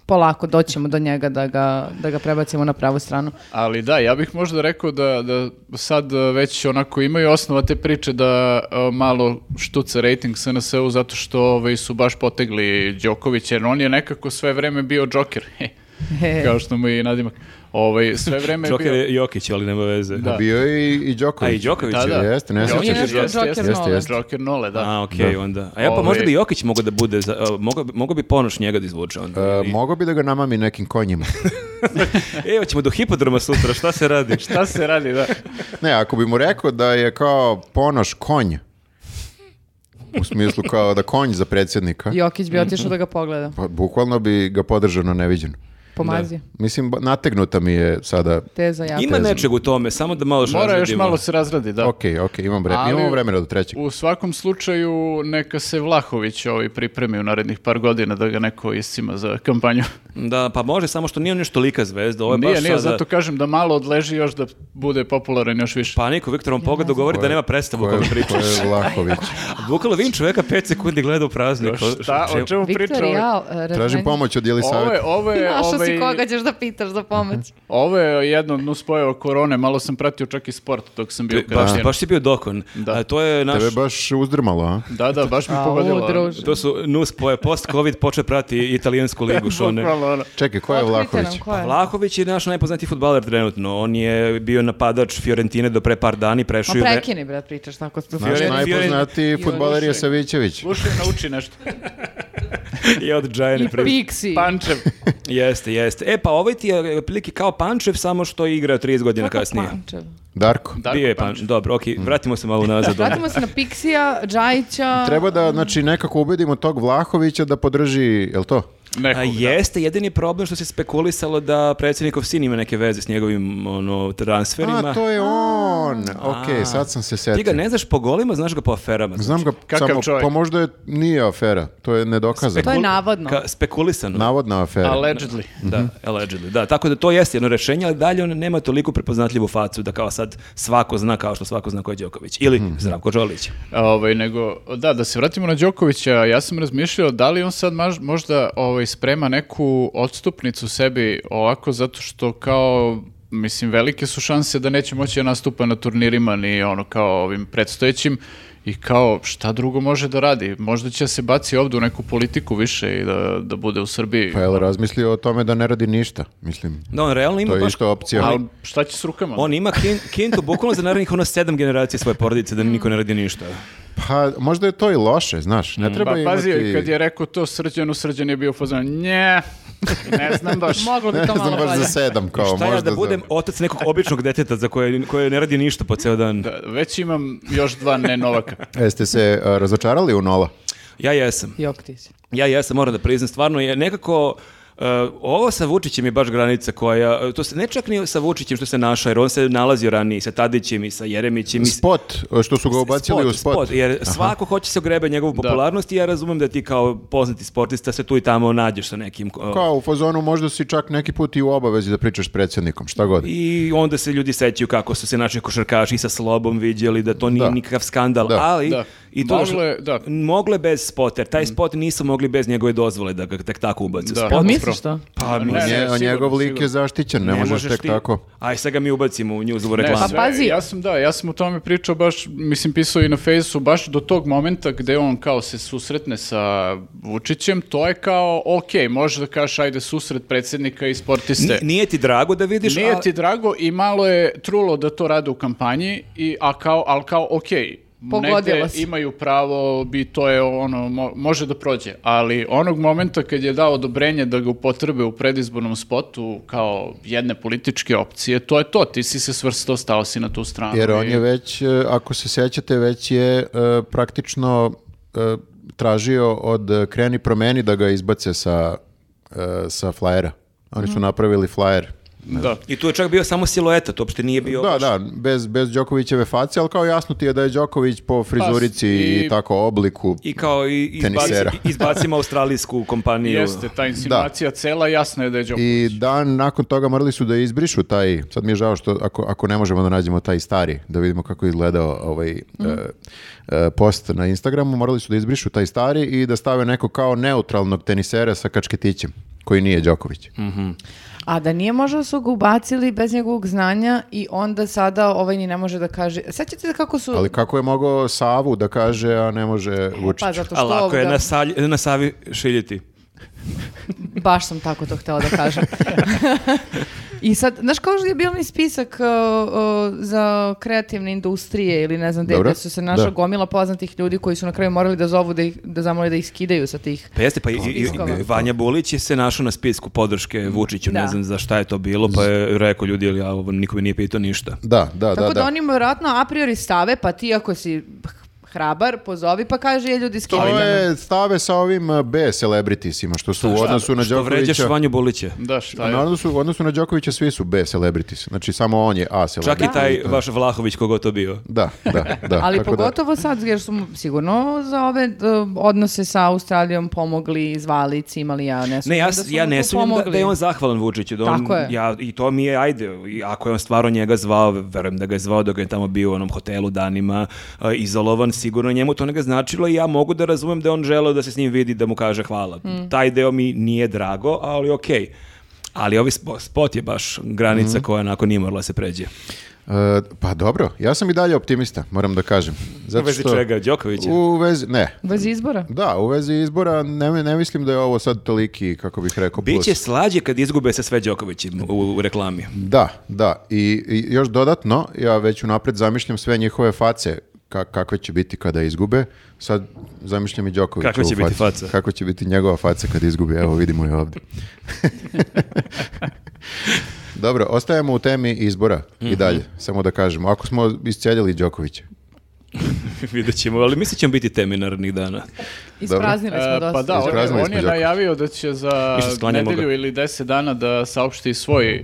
Speaker 3: Polako doćemo do njega da ga, da ga prebacimo na pravu stranu.
Speaker 4: Ali da, ja bih možda rekao da, da sad e, već onako imaju osnova te priče da e, malo štuca rating SNS-u zato što ovaj, su baš potegli Đokovića, jer on je nekako sve vreme bio džoker. <laughs> He,
Speaker 3: E.
Speaker 4: Kao što mu je i nadimak. Ovaj, sve vreme je
Speaker 1: Joker
Speaker 4: bio...
Speaker 1: je Jokić, ali nema veze.
Speaker 4: Da.
Speaker 2: Bio je i, i Đoković.
Speaker 1: A i Đoković
Speaker 4: Da,
Speaker 1: je.
Speaker 4: da.
Speaker 2: Jeste, ne
Speaker 4: Jokić
Speaker 3: On je
Speaker 2: sjećam se.
Speaker 3: nešto
Speaker 4: jeste,
Speaker 3: Joker
Speaker 4: jeste,
Speaker 3: Nole.
Speaker 4: jeste. Joker Nole, da.
Speaker 1: A, okej, onda. A ja pa
Speaker 4: Ovaj-
Speaker 1: možda bi Jokić mogao da bude, za- e, mogao, bi- mogao bi ponoš njega da izvuče onda.
Speaker 2: E,
Speaker 1: Ili-
Speaker 2: mogao bi da ga namami nekim konjima.
Speaker 1: E, hoćemo do hipodroma sutra, šta se radi?
Speaker 4: <laughs> Šta se radi, da?
Speaker 2: Ne, ako bi mu rekao da je kao ponoš konj, u smislu kao da konj za predsjednika,
Speaker 3: <laughs> Jokić bi otišao da ga pogleda.
Speaker 2: pa bukvalno bi ga podržao na neviđeno.
Speaker 3: Pomazi.
Speaker 2: Mislim, ba- nategnuta mi je sada...
Speaker 3: Teza jaka.
Speaker 1: Ima nečeg u tome, samo da malo što
Speaker 4: Mora još malo se razradi, da.
Speaker 2: Ok, ok, imam vre...
Speaker 4: Ali-
Speaker 2: imamo vremena do trećeg.
Speaker 4: U svakom slučaju neka se Vlahović ovaj pripremi u narednih par godina da ga neko iscima za kampanju.
Speaker 1: Da, pa može, samo što nije on još tolika zvezda. Ovo je
Speaker 4: nije,
Speaker 1: baš
Speaker 4: nije,
Speaker 1: sada...
Speaker 4: zato kažem da malo odleži još da bude popularan još više.
Speaker 1: Pa niko Viktorom pogledu govori da nema predstavu o
Speaker 2: Ko
Speaker 1: kome
Speaker 2: je-
Speaker 1: priča.
Speaker 2: ko je
Speaker 3: <laughs>
Speaker 2: Vlahović?
Speaker 1: Bukalo vin čoveka 5 sekundi gleda u praznik.
Speaker 4: Šta,
Speaker 1: pa,
Speaker 4: o čemu priča?
Speaker 3: Viktor,
Speaker 4: ovaj?
Speaker 3: ja... e,
Speaker 2: Tražim
Speaker 3: razmeni- <laughs>
Speaker 2: pomoć od Jeli
Speaker 4: Ovo je,
Speaker 2: Saveta.
Speaker 4: ovo je,
Speaker 3: Našao si
Speaker 4: ovaj,
Speaker 3: koga ćeš da pitaš za pomoć.
Speaker 4: ovo je jedno od nuspojeva korone, malo sam pratio čak i sport dok sam bio u
Speaker 1: Baš,
Speaker 4: karantinu.
Speaker 1: baš si bio dokon.
Speaker 4: Da.
Speaker 1: A, to je naš...
Speaker 2: Tebe je baš uzdrmalo, a?
Speaker 4: Da, da, baš mi
Speaker 3: Au,
Speaker 4: pogodilo. ono.
Speaker 3: druže.
Speaker 1: To su nus poje post-covid poče prati italijansku ligu što ne.
Speaker 4: Bukvalno, ono.
Speaker 2: Čekaj, ko je
Speaker 3: Otkrite
Speaker 2: Vlahović?
Speaker 3: nam ko je.
Speaker 1: Pa Vlahović je naš najpoznatiji futbaler trenutno. On je bio napadač Fiorentine do pre par dani, prešao
Speaker 3: Ma
Speaker 1: je u Re-
Speaker 3: prekini, bre, pričaš tako.
Speaker 2: Naš
Speaker 1: Fioren-
Speaker 2: najpoznatiji
Speaker 3: Fioren-
Speaker 2: futbaler je
Speaker 4: Fioren-
Speaker 2: Savićević.
Speaker 4: Slušaj, nauči nešto.
Speaker 1: <laughs> i od Giant
Speaker 3: I Pixi.
Speaker 1: Pa,
Speaker 4: Pančev.
Speaker 1: Jeste, jeste. E pa ovaj ti je otprilike kao Pančev, samo što je igrao 30 godina kasnije.
Speaker 3: Pančev.
Speaker 2: Darko.
Speaker 4: Darko
Speaker 1: Bio je pa,
Speaker 4: Pančev. Mm.
Speaker 1: Pančev. Dobro, okej, vratimo se malo nazad.
Speaker 3: Vratimo se na Pixija, Džajića.
Speaker 2: Treba da, znači, nekako ubedimo tog Vlahovića da podrži, jel to?
Speaker 4: Nekog,
Speaker 1: A
Speaker 4: da.
Speaker 1: jeste, jedini problem što se spekulisalo da predsjednikov sin ima neke veze s njegovim ono, transferima.
Speaker 2: A, to je on. Ok, sad sam se setio.
Speaker 1: Ti ga ne znaš po golima, znaš ga po aferama. znači.
Speaker 2: Znam ga
Speaker 4: Znači, Kakav
Speaker 2: samo,
Speaker 4: čovjek?
Speaker 2: pa možda je, nije afera, to je nedokazano.
Speaker 3: To je navodno.
Speaker 1: Ka- spekulisano.
Speaker 2: Navodna afera.
Speaker 4: Allegedly.
Speaker 2: Mhm.
Speaker 1: Da, allegedly. Da, tako da to jeste jedno rešenje, ali dalje on nema toliko prepoznatljivu facu da kao sad svako zna kao što svako zna ko je Đoković ili
Speaker 2: Mhm.
Speaker 1: Zdravko Đolić.
Speaker 4: Ovaj, nego, da, da se vratimo na Đokovića, ja sam razmišljao da li on sad maž- možda ovaj, sprema neku odstupnicu sebi ovako zato što kao mislim velike su šanse da neće moći da nastupa na turnirima ni ono kao ovim predstojećim i kao šta drugo može da radi možda će se baci ovdje u neku politiku više i da, da bude u Srbiji
Speaker 2: Pa jel razmislio o tome da ne radi ništa, mislim.
Speaker 1: Da, on realno ima
Speaker 2: To je
Speaker 1: baš...
Speaker 2: isto opcija.
Speaker 4: ali šta će s rukama
Speaker 1: On ima kin, kintu bukvalno za narednih ono sedam generacija svoje porodice da niko ne radi ništa.
Speaker 2: Pa možda je to i loše, znaš, ne treba
Speaker 4: pa pazi,
Speaker 2: imati...
Speaker 4: kad je rekao to srđanu, srđan je bio u fazonu, nje, ne znam baš.
Speaker 3: Moglo
Speaker 2: <laughs>
Speaker 3: bi
Speaker 2: Ne
Speaker 3: to
Speaker 2: znam
Speaker 3: malo
Speaker 2: baš
Speaker 3: bolje.
Speaker 2: za sedam, kao
Speaker 1: Šta
Speaker 2: možda
Speaker 1: ja da budem
Speaker 2: za...
Speaker 1: otac nekog običnog deteta za koje, koje ne radi ništa po ceo dan?
Speaker 4: Da, Već imam još dva ne Novaka.
Speaker 2: Jeste se a, razočarali u nola?
Speaker 1: Ja jesam.
Speaker 3: Jok ti si.
Speaker 1: Ja jesam, moram da priznam. Stvarno je nekako... e, ovo sa Vučićem je baš granica koja, eh, to se ne čak ni sa Vučićem što se našao, jer on se nalazio ranije i sa Tadićem i sa Jeremićem i s-
Speaker 2: Spot, eh, što su ga ubacili u spot.
Speaker 1: jer svako hoće se ogrebe njegovu popularnost i ja razumem da ti kao poznati sportista se tu i tamo nađeš sa nekim. eh, ko-
Speaker 2: Kao u fazonu možda si čak neki put i u obavezi da pričaš s predsjednikom, šta god.
Speaker 1: I onda se ljudi sećaju kako su se naši košarkaši sa slobom vidjeli da to nije
Speaker 2: Da.
Speaker 1: nikakav skandal,
Speaker 2: Da.
Speaker 1: ali
Speaker 4: Da.
Speaker 1: i to
Speaker 4: Moglo je- da.
Speaker 1: mogle bez spoter.
Speaker 2: Mm.
Speaker 1: Taj spot nisu mogli bez njegove dozvole da ga tek tako ubace.
Speaker 4: Da.
Speaker 1: Spot-
Speaker 4: Pa
Speaker 3: Pa
Speaker 4: Odnosno-
Speaker 3: misliš to?
Speaker 1: pa
Speaker 4: Ne,
Speaker 1: mislim,
Speaker 2: Nje-
Speaker 4: sigurno,
Speaker 2: njegov lik
Speaker 4: sigurno.
Speaker 2: je zaštićen, ne, možeš tek
Speaker 1: ti-
Speaker 2: tako.
Speaker 1: Aj sad ga mi ubacimo u njuzovu
Speaker 4: Ne,
Speaker 1: reklamu.
Speaker 4: sve,
Speaker 3: pazi.
Speaker 4: Ja sam, da, ja sam o tome pričao baš, mislim, pisao i na fejsu, baš do tog momenta gde on kao se susretne sa Vučićem, to je kao, ok, možeš da kažeš, ajde, susret predsjednika i sportiste.
Speaker 1: N- Nije ti drago da vidiš,
Speaker 4: Nije
Speaker 1: ali-
Speaker 4: ti drago i malo je trulo da to rade u kampanji, i, a kao, ali kao, ok,
Speaker 3: Pogodilo
Speaker 4: negde
Speaker 3: se.
Speaker 4: imaju pravo bi to je ono mo- može da prođe, ali onog momenta kad je dao odobrenje da ga upotrebe u predizbornom spotu kao jedne političke opcije, to je to, ti si se svrstao, stao si na tu stranu.
Speaker 2: Jer on
Speaker 4: i-
Speaker 2: je već, e, ako se sjećate, već je e, praktično e, tražio od e, kreni promeni da ga izbace sa, e, sa flajera. Oni su napravili flajer.
Speaker 4: da.
Speaker 1: I tu je čak bio samo silueta, to uopšte nije bio...
Speaker 2: Da, da, bez, bez Đokovićeve face, ali kao jasno ti je da je Đoković po frizurici i,
Speaker 4: i-
Speaker 2: tako obliku.
Speaker 1: I kao i, izbaci,
Speaker 2: Tenisera.
Speaker 1: <laughs> izbacimo australijsku kompaniju.
Speaker 4: Jeste, ta insinuacija cela jasna je da je Đoković.
Speaker 2: I dan nakon toga morali su da izbrišu taj, sad mi je žao što ako, ako ne možemo da nađemo taj stari, da vidimo kako je izgledao ovaj e,
Speaker 1: Mhm.
Speaker 2: e, post na Instagramu, morali su da izbrišu taj stari i da stave neko kao neutralnog tenisera sa kačketićem, koji nije Đoković.
Speaker 1: Mhm.
Speaker 3: A da nije možda su ga ubacili bez njegovog znanja i onda sada ovaj ni ne može da kaže... Sećate se kako su...
Speaker 2: Ali kako je mogao Savu da kaže, a ne može Vučić?
Speaker 3: Pa zato
Speaker 1: A
Speaker 3: što
Speaker 1: lako je
Speaker 3: ovoga-
Speaker 1: na, salj- na Savi šiljiti.
Speaker 3: Baš sam tako to htela da kažem. I sad, znaš kao što je bio onaj spisak uh, uh, za kreativne industrije ili ne znam gde,
Speaker 2: Dobro,
Speaker 3: gde su se našla
Speaker 2: da.
Speaker 3: gomila poznatih ljudi koji su na kraju morali da zovu da, ih, da zamole da ih skidaju sa tih.
Speaker 1: Pa jeste, pa i, i- i-
Speaker 3: Spiskova.
Speaker 1: Vanja Bulić je se našao na spisku podrške Vučiću, ne
Speaker 3: Mm. Da.
Speaker 1: znam za šta je to bilo, pa je rekao ljudi, ali ja, ovo niko mi nije pitao ništa.
Speaker 2: Da, da,
Speaker 3: Tako
Speaker 2: Pa da,
Speaker 3: da,
Speaker 2: da.
Speaker 3: oni vjerojatno a priori stave, pa ti ako si h- hrabar, pozovi pa kaže je ljudi
Speaker 2: To
Speaker 3: skidaju.
Speaker 2: je stave sa ovim e, B celebritiesima, što su u odnosu na
Speaker 1: Što vređaš
Speaker 2: Đokovića.
Speaker 1: Vanju Bulića.
Speaker 4: Da, šta
Speaker 2: A
Speaker 4: je?
Speaker 2: na odnosu, u odnosu na Đokovića svi su B celebrities. Znači samo on je A celebrity.
Speaker 1: Čak i taj vaš Vlahović kogo to bio.
Speaker 2: Da, da, da.
Speaker 3: <laughs> Ali
Speaker 2: tako da-
Speaker 3: pogotovo sad, jer su mu sigurno za ove d- odnose sa Australijom pomogli, zvali, cimali, ja ne
Speaker 1: Ne,
Speaker 3: sumnjam
Speaker 1: ja,
Speaker 3: da su
Speaker 1: ja
Speaker 3: mu
Speaker 1: ne
Speaker 3: tu
Speaker 1: sumnjam da, da
Speaker 3: pomogli.
Speaker 1: je on zahvalan Vučiću. Da on,
Speaker 3: Tako je.
Speaker 1: Ja, I to mi je, ajde, i ako je on stvarno njega zvao, verujem da ga je zvao dok je tamo bio u onom hotelu danima, e, izolovan, sigurno njemu to ne značilo i ja mogu da razumem da je on želeo da se s njim vidi, da mu kaže hvala.
Speaker 3: Mm.
Speaker 1: Taj deo mi nije drago, ali okej. Ali ovi spo- spot je baš granica
Speaker 3: Mm.
Speaker 1: koja onako nije morala da se pređe.
Speaker 2: E, pa dobro, ja sam i dalje optimista, moram da kažem.
Speaker 1: U vezi čega, Đokovića?
Speaker 2: U vezi, ne.
Speaker 3: Bez izbora.
Speaker 2: Da, u vezi izbora ne, ne mislim da je ovo sad toliki, kako bih rekao, plus.
Speaker 1: Biće slađe kad izgube se sve Đokovićim u, u reklami.
Speaker 2: Da, da. I, i još dodatno, ja već unapred zamišljam sve njihove face ka- kakve će biti kada izgube. Sad zamišljam i Đokoviću
Speaker 1: Kakva će biti faca?
Speaker 2: Kako će biti njegova faca kada izgubi. Evo, vidimo
Speaker 1: <laughs>
Speaker 2: je ovdje. Dobro, ostajemo u temi izbora
Speaker 1: Mhm.
Speaker 2: i dalje. Samo da kažemo, ako smo isceljili Đokovića.
Speaker 1: Vidjet ćemo, ali mislim ćemo biti temi narednih dana.
Speaker 3: Ispraznili smo
Speaker 4: E,
Speaker 3: dosta.
Speaker 4: pa da, on, je-
Speaker 2: Ispraznili
Speaker 4: on
Speaker 2: smo
Speaker 4: je
Speaker 2: Đakovića.
Speaker 4: najavio da će za
Speaker 1: Ništa, sklanjamo
Speaker 4: nedelju
Speaker 1: ga.
Speaker 4: ili deset dana da saopšti svoj, e,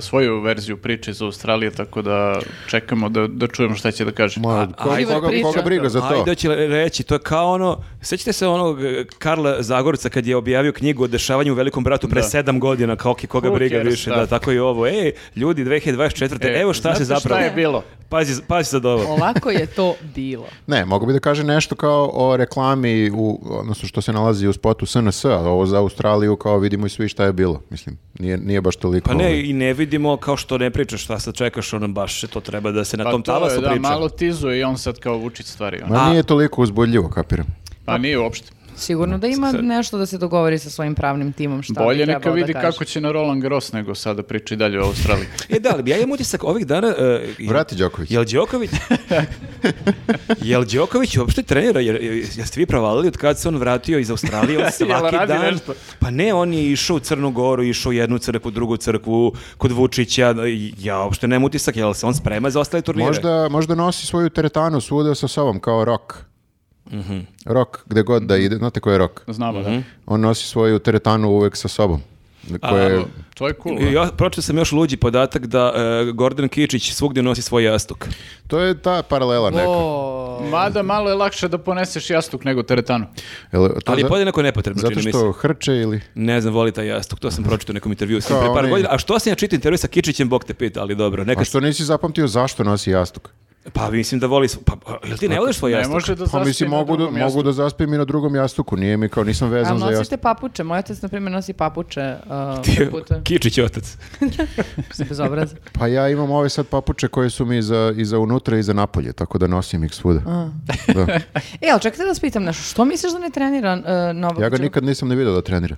Speaker 4: svoju verziju priče iz Australije, tako da čekamo da, da čujemo šta će da kaže.
Speaker 2: Ma, ko-
Speaker 1: ajde,
Speaker 2: koga,
Speaker 3: priča.
Speaker 2: koga briga za to?
Speaker 1: Ajde, će reći, to je kao ono, sećate se onog eh, Karla Zagorca kad je objavio knjigu o dešavanju u Velikom bratu pre
Speaker 4: Da.
Speaker 1: sedam godina, kao ki koga
Speaker 4: Who
Speaker 1: briga
Speaker 4: cares,
Speaker 1: više,
Speaker 4: da.
Speaker 1: da, tako i ovo. Ej, ljudi, 2024.
Speaker 4: E,
Speaker 1: evo šta se
Speaker 4: znate
Speaker 1: zapravo...
Speaker 4: Šta je bilo?
Speaker 1: Pazi, pazi sad ovo.
Speaker 3: Ovako je to bilo.
Speaker 2: Ne, mogu bi da kaže nešto kao o reklami, u, odnosno što se nalazi u spotu SNS, a ovo za Australiju kao vidimo i svi šta je bilo. Mislim, nije, nije baš toliko.
Speaker 1: Pa ne,
Speaker 2: ovaj.
Speaker 1: i ne vidimo kao što ne pričaš šta sad čekaš, ono baš to treba da se na
Speaker 4: Pa
Speaker 1: tom
Speaker 4: to je,
Speaker 1: talasu
Speaker 4: da,
Speaker 1: priča.
Speaker 4: malo tizuje i on sad kao vuči stvari. ono.
Speaker 2: Ma nije toliko uzbudljivo, kapiram.
Speaker 4: Pa nije uopšte.
Speaker 3: Sigurno da ima nešto da se dogovori sa svojim pravnim timom šta
Speaker 4: Bolje
Speaker 3: bi
Speaker 4: neka
Speaker 3: trebalo
Speaker 4: vidi
Speaker 3: da kaže.
Speaker 4: kako će na Roland Garros nego sada priča i dalje o Australiji.
Speaker 1: E da, ali ja imam utisak ovih dana... eh, je-
Speaker 2: Vrati Đoković.
Speaker 1: Jel Đoković...
Speaker 2: <laughs>
Speaker 1: jel Đoković uopšte trenira? Jer, e, jeste vi provalili od kad se on vratio iz Australije?
Speaker 4: <laughs>
Speaker 1: On svaki
Speaker 4: radi
Speaker 1: dan...
Speaker 4: nešto?
Speaker 1: Pa ne, on je išao u Crnu Goru, išao u jednu crkvu, drugu crkvu, kod Vučića. Ja uopšte nemam utisak, jel se on sprema za ostale turnire?
Speaker 2: Možda, možda nosi svoju teretanu svuda sa sobom, kao rok.
Speaker 1: Mhm.
Speaker 2: Rok, gde god da ide, znate ko je rok?
Speaker 4: Znamo,
Speaker 2: On nosi svoju teretanu uvek sa sobom. Koje,
Speaker 4: da. To je cool.
Speaker 1: Ja pročitao sam još luđi podatak da eh, Gordon Kičić svugdje nosi svoj jastuk.
Speaker 2: to je ta paralela neka.
Speaker 3: O,
Speaker 4: ono. Mada malo je lakše da poneseš jastuk nego teretanu.
Speaker 2: Jel to
Speaker 1: Ali je
Speaker 2: za-
Speaker 1: podjednako nepotrebno,
Speaker 2: zato
Speaker 1: čini mi se.
Speaker 2: što hrče ili...
Speaker 1: Ne znam, voli taj jastuk, to sam pročitao u nekom intervju s njim
Speaker 2: Kao
Speaker 1: pre par
Speaker 2: onaj-
Speaker 1: godina. A što sam ja čitao intervju sa Kičićem, Bog te pita, ali dobro. Neka
Speaker 2: A što nisi zapamtio zašto nosi jastuk?
Speaker 1: Pa mislim da voli... sv- Pa, pa, jel ti ne voliš svoj
Speaker 4: Ne
Speaker 1: jastuk? <laughs>
Speaker 4: može da
Speaker 2: Pa
Speaker 4: zaspi
Speaker 2: mislim,
Speaker 4: na
Speaker 2: mogu da,
Speaker 4: drugom jastuku.
Speaker 2: mogu da zaspijem i na drugom jastuku, nije mi kao, nisam vezan
Speaker 3: ali
Speaker 2: za
Speaker 3: nosite
Speaker 2: jastuk.
Speaker 3: papuče, moj otac na primjer nosi papuče
Speaker 4: <laughs>
Speaker 3: uh,
Speaker 1: Ti-
Speaker 3: prvi puta,
Speaker 1: Kičić je otac. <laughs>
Speaker 3: mislim, bez obraza.
Speaker 2: Pa ja imam ove sad papuče koje su mi i za, i za unutra i za napolje, tako da nosim ih svuda.
Speaker 3: <laughs>
Speaker 2: Da.
Speaker 3: E, ali čekajte da vas pitam nešto, što misliš da ne trenira uh, Novak?
Speaker 2: Ja ga
Speaker 3: Đoković?
Speaker 2: nikad nisam ne vidio da trenira.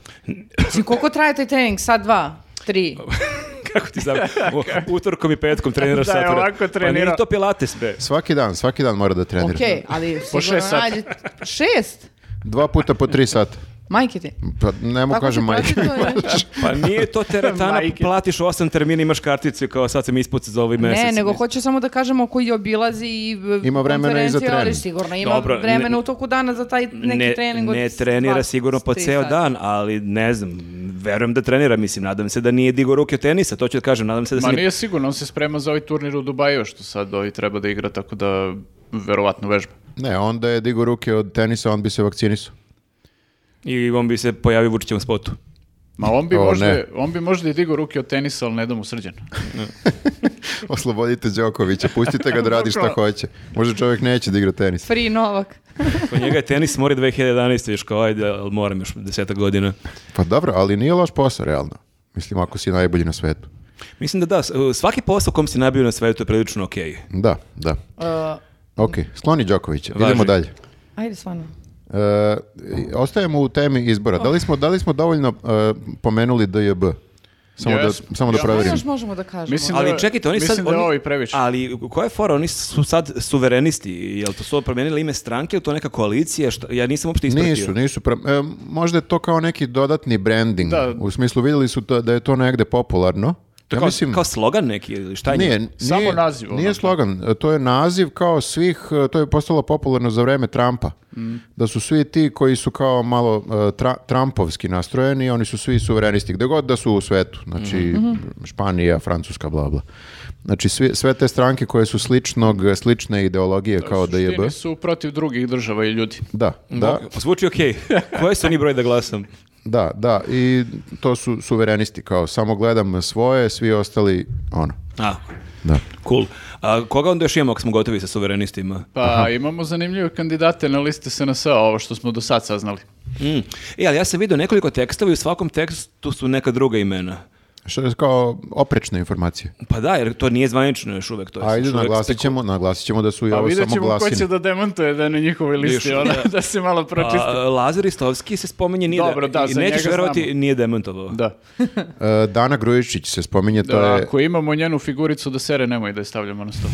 Speaker 3: Mislim, koliko traje taj trening? Sad dva? Tri?
Speaker 1: kako ti znam, u- utorkom i petkom treniraš
Speaker 4: Da, je
Speaker 1: satura.
Speaker 4: ovako
Speaker 1: Pa
Speaker 4: trenirao.
Speaker 1: nije to pilates, bre.
Speaker 2: Svaki dan, svaki dan mora da trenira.
Speaker 3: Ok, ali
Speaker 4: Po
Speaker 3: sigurno
Speaker 4: šest sati.
Speaker 3: nađe- Šest?
Speaker 2: Dva puta po tri sata.
Speaker 3: Majke ti.
Speaker 2: Pa ne mogu
Speaker 3: Tako
Speaker 2: kažem
Speaker 3: se
Speaker 2: majke.
Speaker 3: praktikuje.
Speaker 1: Pa nije
Speaker 4: <laughs>
Speaker 1: to teretana,
Speaker 4: Majke.
Speaker 1: platiš osam termina, imaš karticu, kao sad sam ispucao za ovaj mesec.
Speaker 3: Ne, nego hoću samo da kažemo koji obilazi i b-
Speaker 2: Ima vremena i za
Speaker 3: konferencije, ali
Speaker 2: trening.
Speaker 3: sigurno ima
Speaker 1: Dobro, ne-
Speaker 3: vremena u toku dana za taj neki
Speaker 1: ne,
Speaker 3: trening. od
Speaker 1: ne
Speaker 3: sat,
Speaker 1: trenira sigurno po
Speaker 3: tri
Speaker 1: ceo
Speaker 3: sata.
Speaker 1: dan, ali ne znam, verujem da trenira, mislim, nadam se da nije digo ruke od tenisa, to ću da kažem, nadam se da se
Speaker 4: Ma
Speaker 1: nije-
Speaker 4: nije sigurno, on se sprema za ovaj turnir u Dubaju, što sad ovaj treba da igra, tako da verovatno vežba.
Speaker 2: <laughs> Ne, onda je digo ruke od tenisa, on bi se vakcinisao.
Speaker 1: i on bi se pojavio u Vučićevom
Speaker 4: <laughs>
Speaker 1: spotu.
Speaker 4: Ma on bi,
Speaker 2: O,
Speaker 4: možda,
Speaker 2: ne.
Speaker 4: on bi možda i digao ruke od tenisa, ali ne da mu srđan.
Speaker 2: Oslobodite Đokovića, pustite ga da radi šta
Speaker 4: Bukvalno.
Speaker 2: hoće. Možda čovjek neće da igra tenis.
Speaker 1: <laughs>
Speaker 3: Free Novak.
Speaker 1: Kod njega je tenis mori 2011. još kao, ajde, ali moram još deseta godina.
Speaker 2: Pa dobro, ali nije loš posao, realno. Mislim, ako si najbolji na svetu.
Speaker 1: Mislim da da, s- uh, svaki posao kom si nabio na svetu je prilično okej.
Speaker 2: Da, da.
Speaker 3: Uh,
Speaker 2: Ok, skloni Đokovića.
Speaker 1: Važi.
Speaker 2: Idemo dalje.
Speaker 3: ajde, stvarno.
Speaker 2: E, ostajemo u temi izbora. Da li smo, da li smo dovoljno e, pomenuli DJB? Samo,
Speaker 4: Jesmo.
Speaker 2: da, samo da
Speaker 4: Ja.
Speaker 3: Šta
Speaker 2: proverim.
Speaker 3: još možemo da kažemo?
Speaker 4: Mislim- da-
Speaker 1: Ali čekajte, oni
Speaker 4: mislim
Speaker 1: sad...
Speaker 4: da je
Speaker 1: oni-
Speaker 4: ovi previše.
Speaker 1: Ali koja je fora? Oni su sad suverenisti. Jel to su promijenili ime stranke ili to neka koalicija? Šta- ja nisam uopšte ispratio.
Speaker 2: Nisu, nisu. pra- e, možda je to kao neki dodatni branding.
Speaker 4: Da.
Speaker 2: U smislu vidjeli su to, da je to negde popularno.
Speaker 1: To je
Speaker 2: ja
Speaker 1: kao,
Speaker 2: mislim,
Speaker 1: kao slogan neki ili šta je?
Speaker 2: nije,
Speaker 1: njima?
Speaker 2: nije,
Speaker 4: Samo naziv, ono.
Speaker 2: Nije
Speaker 4: onako.
Speaker 2: slogan, e, to je naziv kao svih, e, to je postalo popularno za vreme Trumpa.
Speaker 4: Mm.
Speaker 2: Da su svi ti koji su kao malo e, tra- Trumpovski nastrojeni, oni su svi suverenisti, gde god da su u svetu. Znači,
Speaker 4: Mhm.
Speaker 2: Španija, Francuska, bla, bla. Znači, svi, sve te stranke koje su sličnog, slične ideologije kao
Speaker 4: U
Speaker 2: da je
Speaker 4: suštini su protiv drugih država i ljudi.
Speaker 2: Da, da.
Speaker 1: Mo- pa Zvuči
Speaker 2: <laughs>
Speaker 1: okej. Koje su oni broj da glasam?
Speaker 2: Da, da, i to su suverenisti, kao samo gledam svoje, svi ostali, ono,
Speaker 1: A,
Speaker 2: da.
Speaker 1: cool. A koga onda još imamo ako smo gotovi sa suverenistima?
Speaker 4: Pa imamo zanimljive kandidate na liste SNS, ovo što smo do sad saznali.
Speaker 1: Mm. E, ali ja sam vidio nekoliko tekstova i u svakom tekstu su neka druga imena.
Speaker 2: Što je kao oprečne informacije.
Speaker 1: Pa da, jer to nije zvanično još uvek. To je
Speaker 2: Ajde,
Speaker 1: još uvek
Speaker 2: naglasit ćemo, naglasit ćemo da su i
Speaker 4: Pa
Speaker 2: ovo
Speaker 4: vidjet
Speaker 2: samo
Speaker 4: ćemo ko će
Speaker 2: glasine.
Speaker 4: da demantuje da je na njihovoj listi,
Speaker 1: Još,
Speaker 4: ona,
Speaker 1: da.
Speaker 4: da se malo pročisti.
Speaker 1: A, Lazar Istovski se spominje, nije
Speaker 4: Pa Dobro, da,
Speaker 1: i
Speaker 4: za
Speaker 1: nećeš
Speaker 4: njega
Speaker 1: verovati,
Speaker 4: znamo.
Speaker 1: nije demantovao.
Speaker 4: Da.
Speaker 2: E, Dana Grujičić se spominje, to
Speaker 4: Da,
Speaker 2: je...
Speaker 4: Ako imamo njenu figuricu da sere, nemoj da je stavljamo na stol.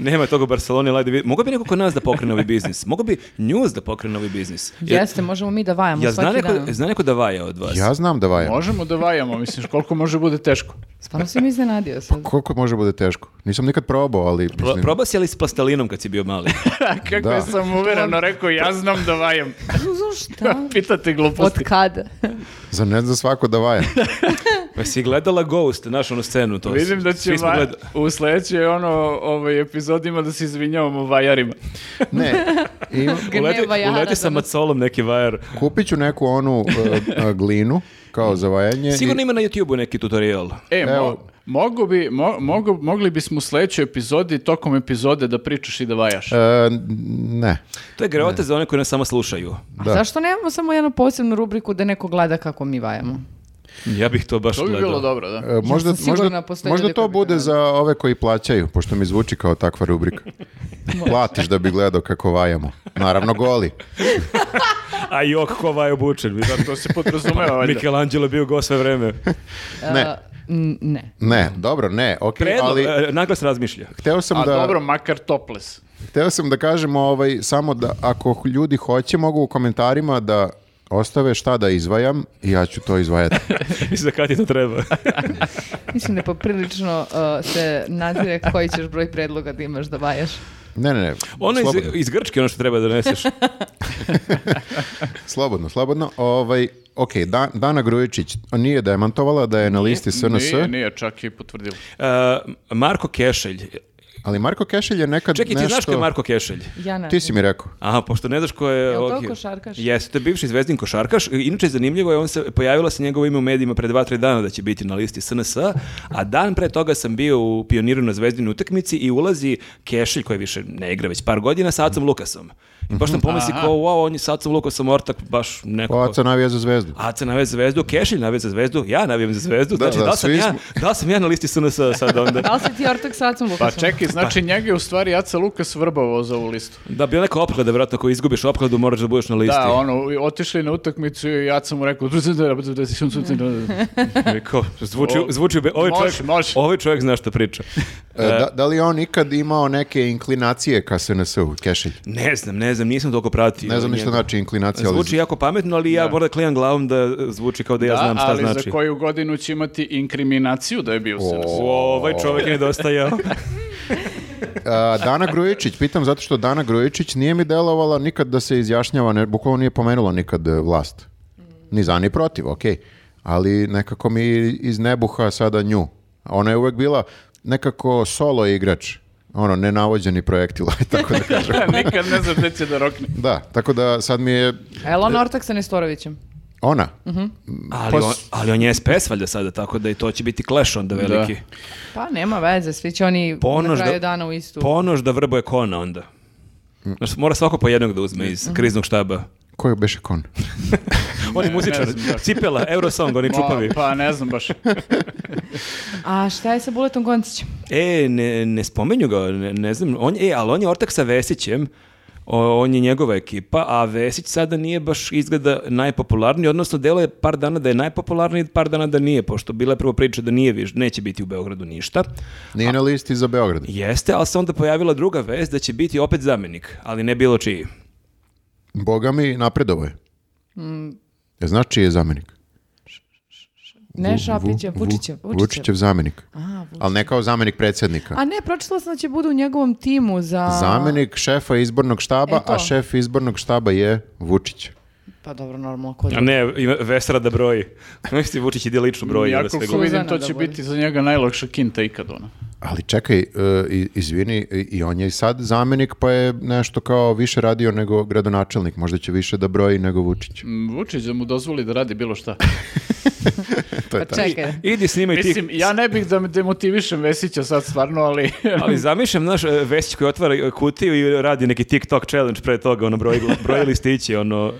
Speaker 1: Nema toga u Barceloni, lajde vidi. Mogao bi neko kod nas da pokrene ovaj biznis? Mogao bi news da pokrene ovaj biznis? Jer-
Speaker 3: Jeste, možemo mi da vajamo
Speaker 1: Ja zna
Speaker 3: svaki
Speaker 1: neko,
Speaker 3: dan.
Speaker 1: zna neko da vaja od vas?
Speaker 2: Ja znam da vaja.
Speaker 4: Možemo da vajamo, misliš, koliko može bude teško.
Speaker 3: Stvarno si mi iznenadio sad.
Speaker 2: Koliko može bude teško? Nisam nikad probao, ali...
Speaker 1: Pro,
Speaker 2: Mislim,
Speaker 1: probao si ali s plastelinom kad si bio
Speaker 4: <laughs>
Speaker 1: mali?
Speaker 4: Kako
Speaker 2: Da.
Speaker 4: je sam uvereno rekao, ja znam da vajam.
Speaker 3: <laughs> Zašto?
Speaker 4: Pitate
Speaker 3: Od
Speaker 4: gluposti.
Speaker 3: kada?
Speaker 2: Za ne za svako da
Speaker 1: <laughs>
Speaker 2: vaja.
Speaker 1: Pa si gledala Ghost, naš onu scenu? To
Speaker 4: Vidim da će
Speaker 1: svi smo
Speaker 4: va-
Speaker 1: gledali.
Speaker 4: u sledećoj ono, ovaj, epizodima da se izvinjavamo vajarima.
Speaker 2: Ne, im-
Speaker 3: Grne
Speaker 1: Uleti,
Speaker 3: vajara
Speaker 1: uleti sa
Speaker 3: danas.
Speaker 1: macolom neki vajar.
Speaker 2: kupit ću neku onu e, e, glinu, kao za vajanje. i- e,
Speaker 1: Sigurno ima na YouTube-u neki tutorial.
Speaker 4: E, mo-
Speaker 2: Evo.
Speaker 4: mogu bi, mo- mogu- mogli bismo u sledećoj epizodi, tokom epizode, da pričaš i da vajaš.
Speaker 2: E, ne.
Speaker 1: To je greota za one koji nas samo slušaju.
Speaker 3: A zašto nemamo samo jednu posebnu rubriku da neko gleda kako mi vajamo?
Speaker 1: Ja bih to baš
Speaker 4: To bi
Speaker 1: gledao.
Speaker 4: bilo dobro, da.
Speaker 2: E, možda,
Speaker 3: sam sigurna,
Speaker 2: možda,
Speaker 3: postoje
Speaker 2: možda
Speaker 3: ljudi
Speaker 2: to
Speaker 3: koji bi
Speaker 2: bude
Speaker 3: to
Speaker 2: za ove koji plaćaju, pošto mi zvuči kao takva
Speaker 1: <laughs>
Speaker 2: rubrika. Platiš da bi gledao kako vajamo. Naravno goli.
Speaker 1: A jok, ko vaja obučen. mi-
Speaker 4: To se podrazumeva, <laughs> valjda.
Speaker 1: Michelangelo je bio go sve vreme.
Speaker 2: Ne,
Speaker 3: Uh, n- ne.
Speaker 2: ne, dobro, ne, ok,
Speaker 1: Predno,
Speaker 2: ali
Speaker 1: e, naglas razmišlja. <laughs>
Speaker 2: hteo sam,
Speaker 4: A
Speaker 2: da,
Speaker 4: dobro, makar toples.
Speaker 2: hteo sam da kažem ovaj, samo da ako ljudi hoće, mogu u komentarima da ostave šta da izvajam i ja ću to izvajati.
Speaker 1: <laughs> Mislim da kad ti to treba.
Speaker 3: Mislim da poprilično uh, se nazire koji ćeš broj predloga da imaš da vajaš.
Speaker 2: Ne, ne, ne,
Speaker 1: Ono iz,
Speaker 2: slobodno,
Speaker 1: iz Grčke, ono što treba da <laughs> doneseš.
Speaker 2: slobodno, slobodno. Ovaj, ok, Da- Dana Grujičić nije demantovala da je na listi SNS,
Speaker 4: Nije, nije, čak i potvrdilo.
Speaker 1: E, Marko Kešelj.
Speaker 2: ali Marko Kešelj je nekad
Speaker 1: Čekaj, ti
Speaker 2: nešto...
Speaker 1: znaš ko je Marko Kešelj?
Speaker 3: Ja ne.
Speaker 2: Ti si mi rekao.
Speaker 1: Aha, pošto ne znaš ko je...
Speaker 3: Jel to
Speaker 1: ok.
Speaker 3: košarkaš?
Speaker 1: Jeste, to je bivši zvezdin košarkaš. Inače, zanimljivo je, on se, pojavilo se njegovo ime u medijima pre dva, tri dana da će biti na listi SNS, a dan pre toga sam bio u pioniru na zvezdinu utakmici i ulazi Kešelj, koji više ne igra već par godina, sa Acom Lukasom. I pošto sam pomisli kao, wow, on je sa Acom Lukasom ortak, baš neko...
Speaker 2: Oca navija za zvezdu.
Speaker 1: Aca navija za zvezdu, Kešelj navija za zvezdu, ja navijam za zvezdu,
Speaker 2: Da,
Speaker 1: znači
Speaker 2: da,
Speaker 1: da, li sam
Speaker 2: svi
Speaker 1: ja,
Speaker 2: smo-
Speaker 3: <laughs>
Speaker 1: da li sam ja na listi SNS sad onda.
Speaker 3: Da li si ti ortak sa Acom
Speaker 4: Pa
Speaker 3: Lukasom?
Speaker 4: čekaj, Znači, njega je u stvari Jaca Lukas vrbovao za ovu listu.
Speaker 1: Da, bio neka opklada, vjerojatno, ako izgubiš opkladu, moraš da budeš na listi.
Speaker 4: Da, ono, otišli na utakmicu i Jaca mu rekao,
Speaker 1: Rekao, zvuči,
Speaker 4: O,
Speaker 1: zvuči, be- ovaj,
Speaker 4: može,
Speaker 1: čovjek,
Speaker 4: može.
Speaker 1: ovaj čovjek zna šta priča.
Speaker 2: E, Da, da li je on ikad imao neke inklinacije ka SNS-u, Kešelj?
Speaker 1: Ne znam, ne znam, nisam toliko pratio.
Speaker 2: Ne znam ništa
Speaker 1: njega.
Speaker 2: znači inklinacija, ali
Speaker 1: Zvuči jako pametno, ali ja moram da klijam glavom da zvuči kao da ja znam šta
Speaker 4: ali
Speaker 1: znači.
Speaker 4: za koju godinu će imati inkriminaciju da je bio u <laughs> SNS.
Speaker 1: O, ovaj čovjek je nedostajao.
Speaker 2: A, Dana Grujičić, pitam zato što Dana Grujičić nije mi delovala nikad da se izjašnjava, ne, bukvalno nije pomenula nikad e, vlast. Ni za, ni protiv, okej. Ali nekako mi iz nebuha sada nju. A Ona je uvek bila nekako solo igrač. Ono, nenavođeni projektil, <laughs> tako da kažem.
Speaker 4: Nikad ne znaš gde će da rokne.
Speaker 2: Da, tako da sad mi je
Speaker 3: Elon Ortak sa Nestorovićem.
Speaker 2: ona.
Speaker 1: Ali on, ali on je SPS valjda sada, tako da i to će biti clash onda veliki.
Speaker 3: Pa nema veze, svi će oni
Speaker 1: Ponoš
Speaker 3: na kraju
Speaker 1: da-
Speaker 3: dana u istu.
Speaker 1: Ponoš da vrbuje kona onda. Znaš, mora svako po jednog da uzme iz kriznog
Speaker 4: <laughs>
Speaker 1: štaba.
Speaker 2: Ko je beše kon?
Speaker 1: Oni je muzičar,
Speaker 4: Mhm. ne znam, da.
Speaker 1: cipela, Eurosong,
Speaker 4: <laughs>
Speaker 1: oni
Speaker 4: Ma,
Speaker 1: čupavi.
Speaker 4: Pa ne znam baš.
Speaker 3: A šta je sa Buletom Goncićem?
Speaker 1: E, ne, ne spomenju ga, ne, ne znam. On, e, ali on je ortak sa Vesićem, o, on je njegova ekipa, a Vesić sada nije baš izgleda najpopularniji, odnosno delo je par dana da je najpopularniji, par dana da nije, pošto bila je prvo priča da nije, viš- neće biti u Beogradu ništa.
Speaker 2: Nije na listi za Beograd.
Speaker 1: Jeste, ali se onda pojavila druga vest da će biti opet zamenik, ali ne bilo čiji.
Speaker 2: Boga mi napredovo je. Mm. Ja znaš čiji je zamenik? Vu-
Speaker 3: Ne
Speaker 2: Vu-
Speaker 3: Šapićem,
Speaker 2: Vu-
Speaker 3: Vučićem. Vučićem.
Speaker 2: Vučićev zamenik.
Speaker 3: A, Vučić.
Speaker 2: Ali ne kao zamenik predsjednika.
Speaker 3: A ne, pročitala sam da će bude u njegovom timu za...
Speaker 2: Zamenik šefa izbornog štaba,
Speaker 3: E to.
Speaker 2: a šef izbornog štaba je Vučić.
Speaker 3: Pa dobro, normalno, ko
Speaker 1: A ne, ima Vesera da broji. Mislim, Vučić ide lično <laughs> broji.
Speaker 4: Ja
Speaker 1: da sve
Speaker 4: koliko
Speaker 1: gleda.
Speaker 4: vidim,
Speaker 3: Suzana
Speaker 4: to
Speaker 3: da
Speaker 4: će
Speaker 3: bude.
Speaker 4: biti za njega najlakša kinta ikad, ono.
Speaker 2: Ali čekaj, e, i- izvini, i- i on je i sad zamenik, pa je nešto kao više radio nego gradonačelnik. Možda će više da broji nego Vučić.
Speaker 4: Mm, Vučić da mu dozvoli da radi bilo
Speaker 1: <laughs>
Speaker 4: šta.
Speaker 2: To E- je
Speaker 3: Pa čekaj.
Speaker 1: Idi snimaj ti.
Speaker 4: Mislim, ja ne bih da me demotivišem Vesića sad stvarno, ali...
Speaker 1: Ali zamišljam, znaš, e, Vesić koji otvara e, kutiju i radi neki TikTok challenge pre toga, ono, broji,
Speaker 4: <laughs>
Speaker 1: gla- broji listići, ono,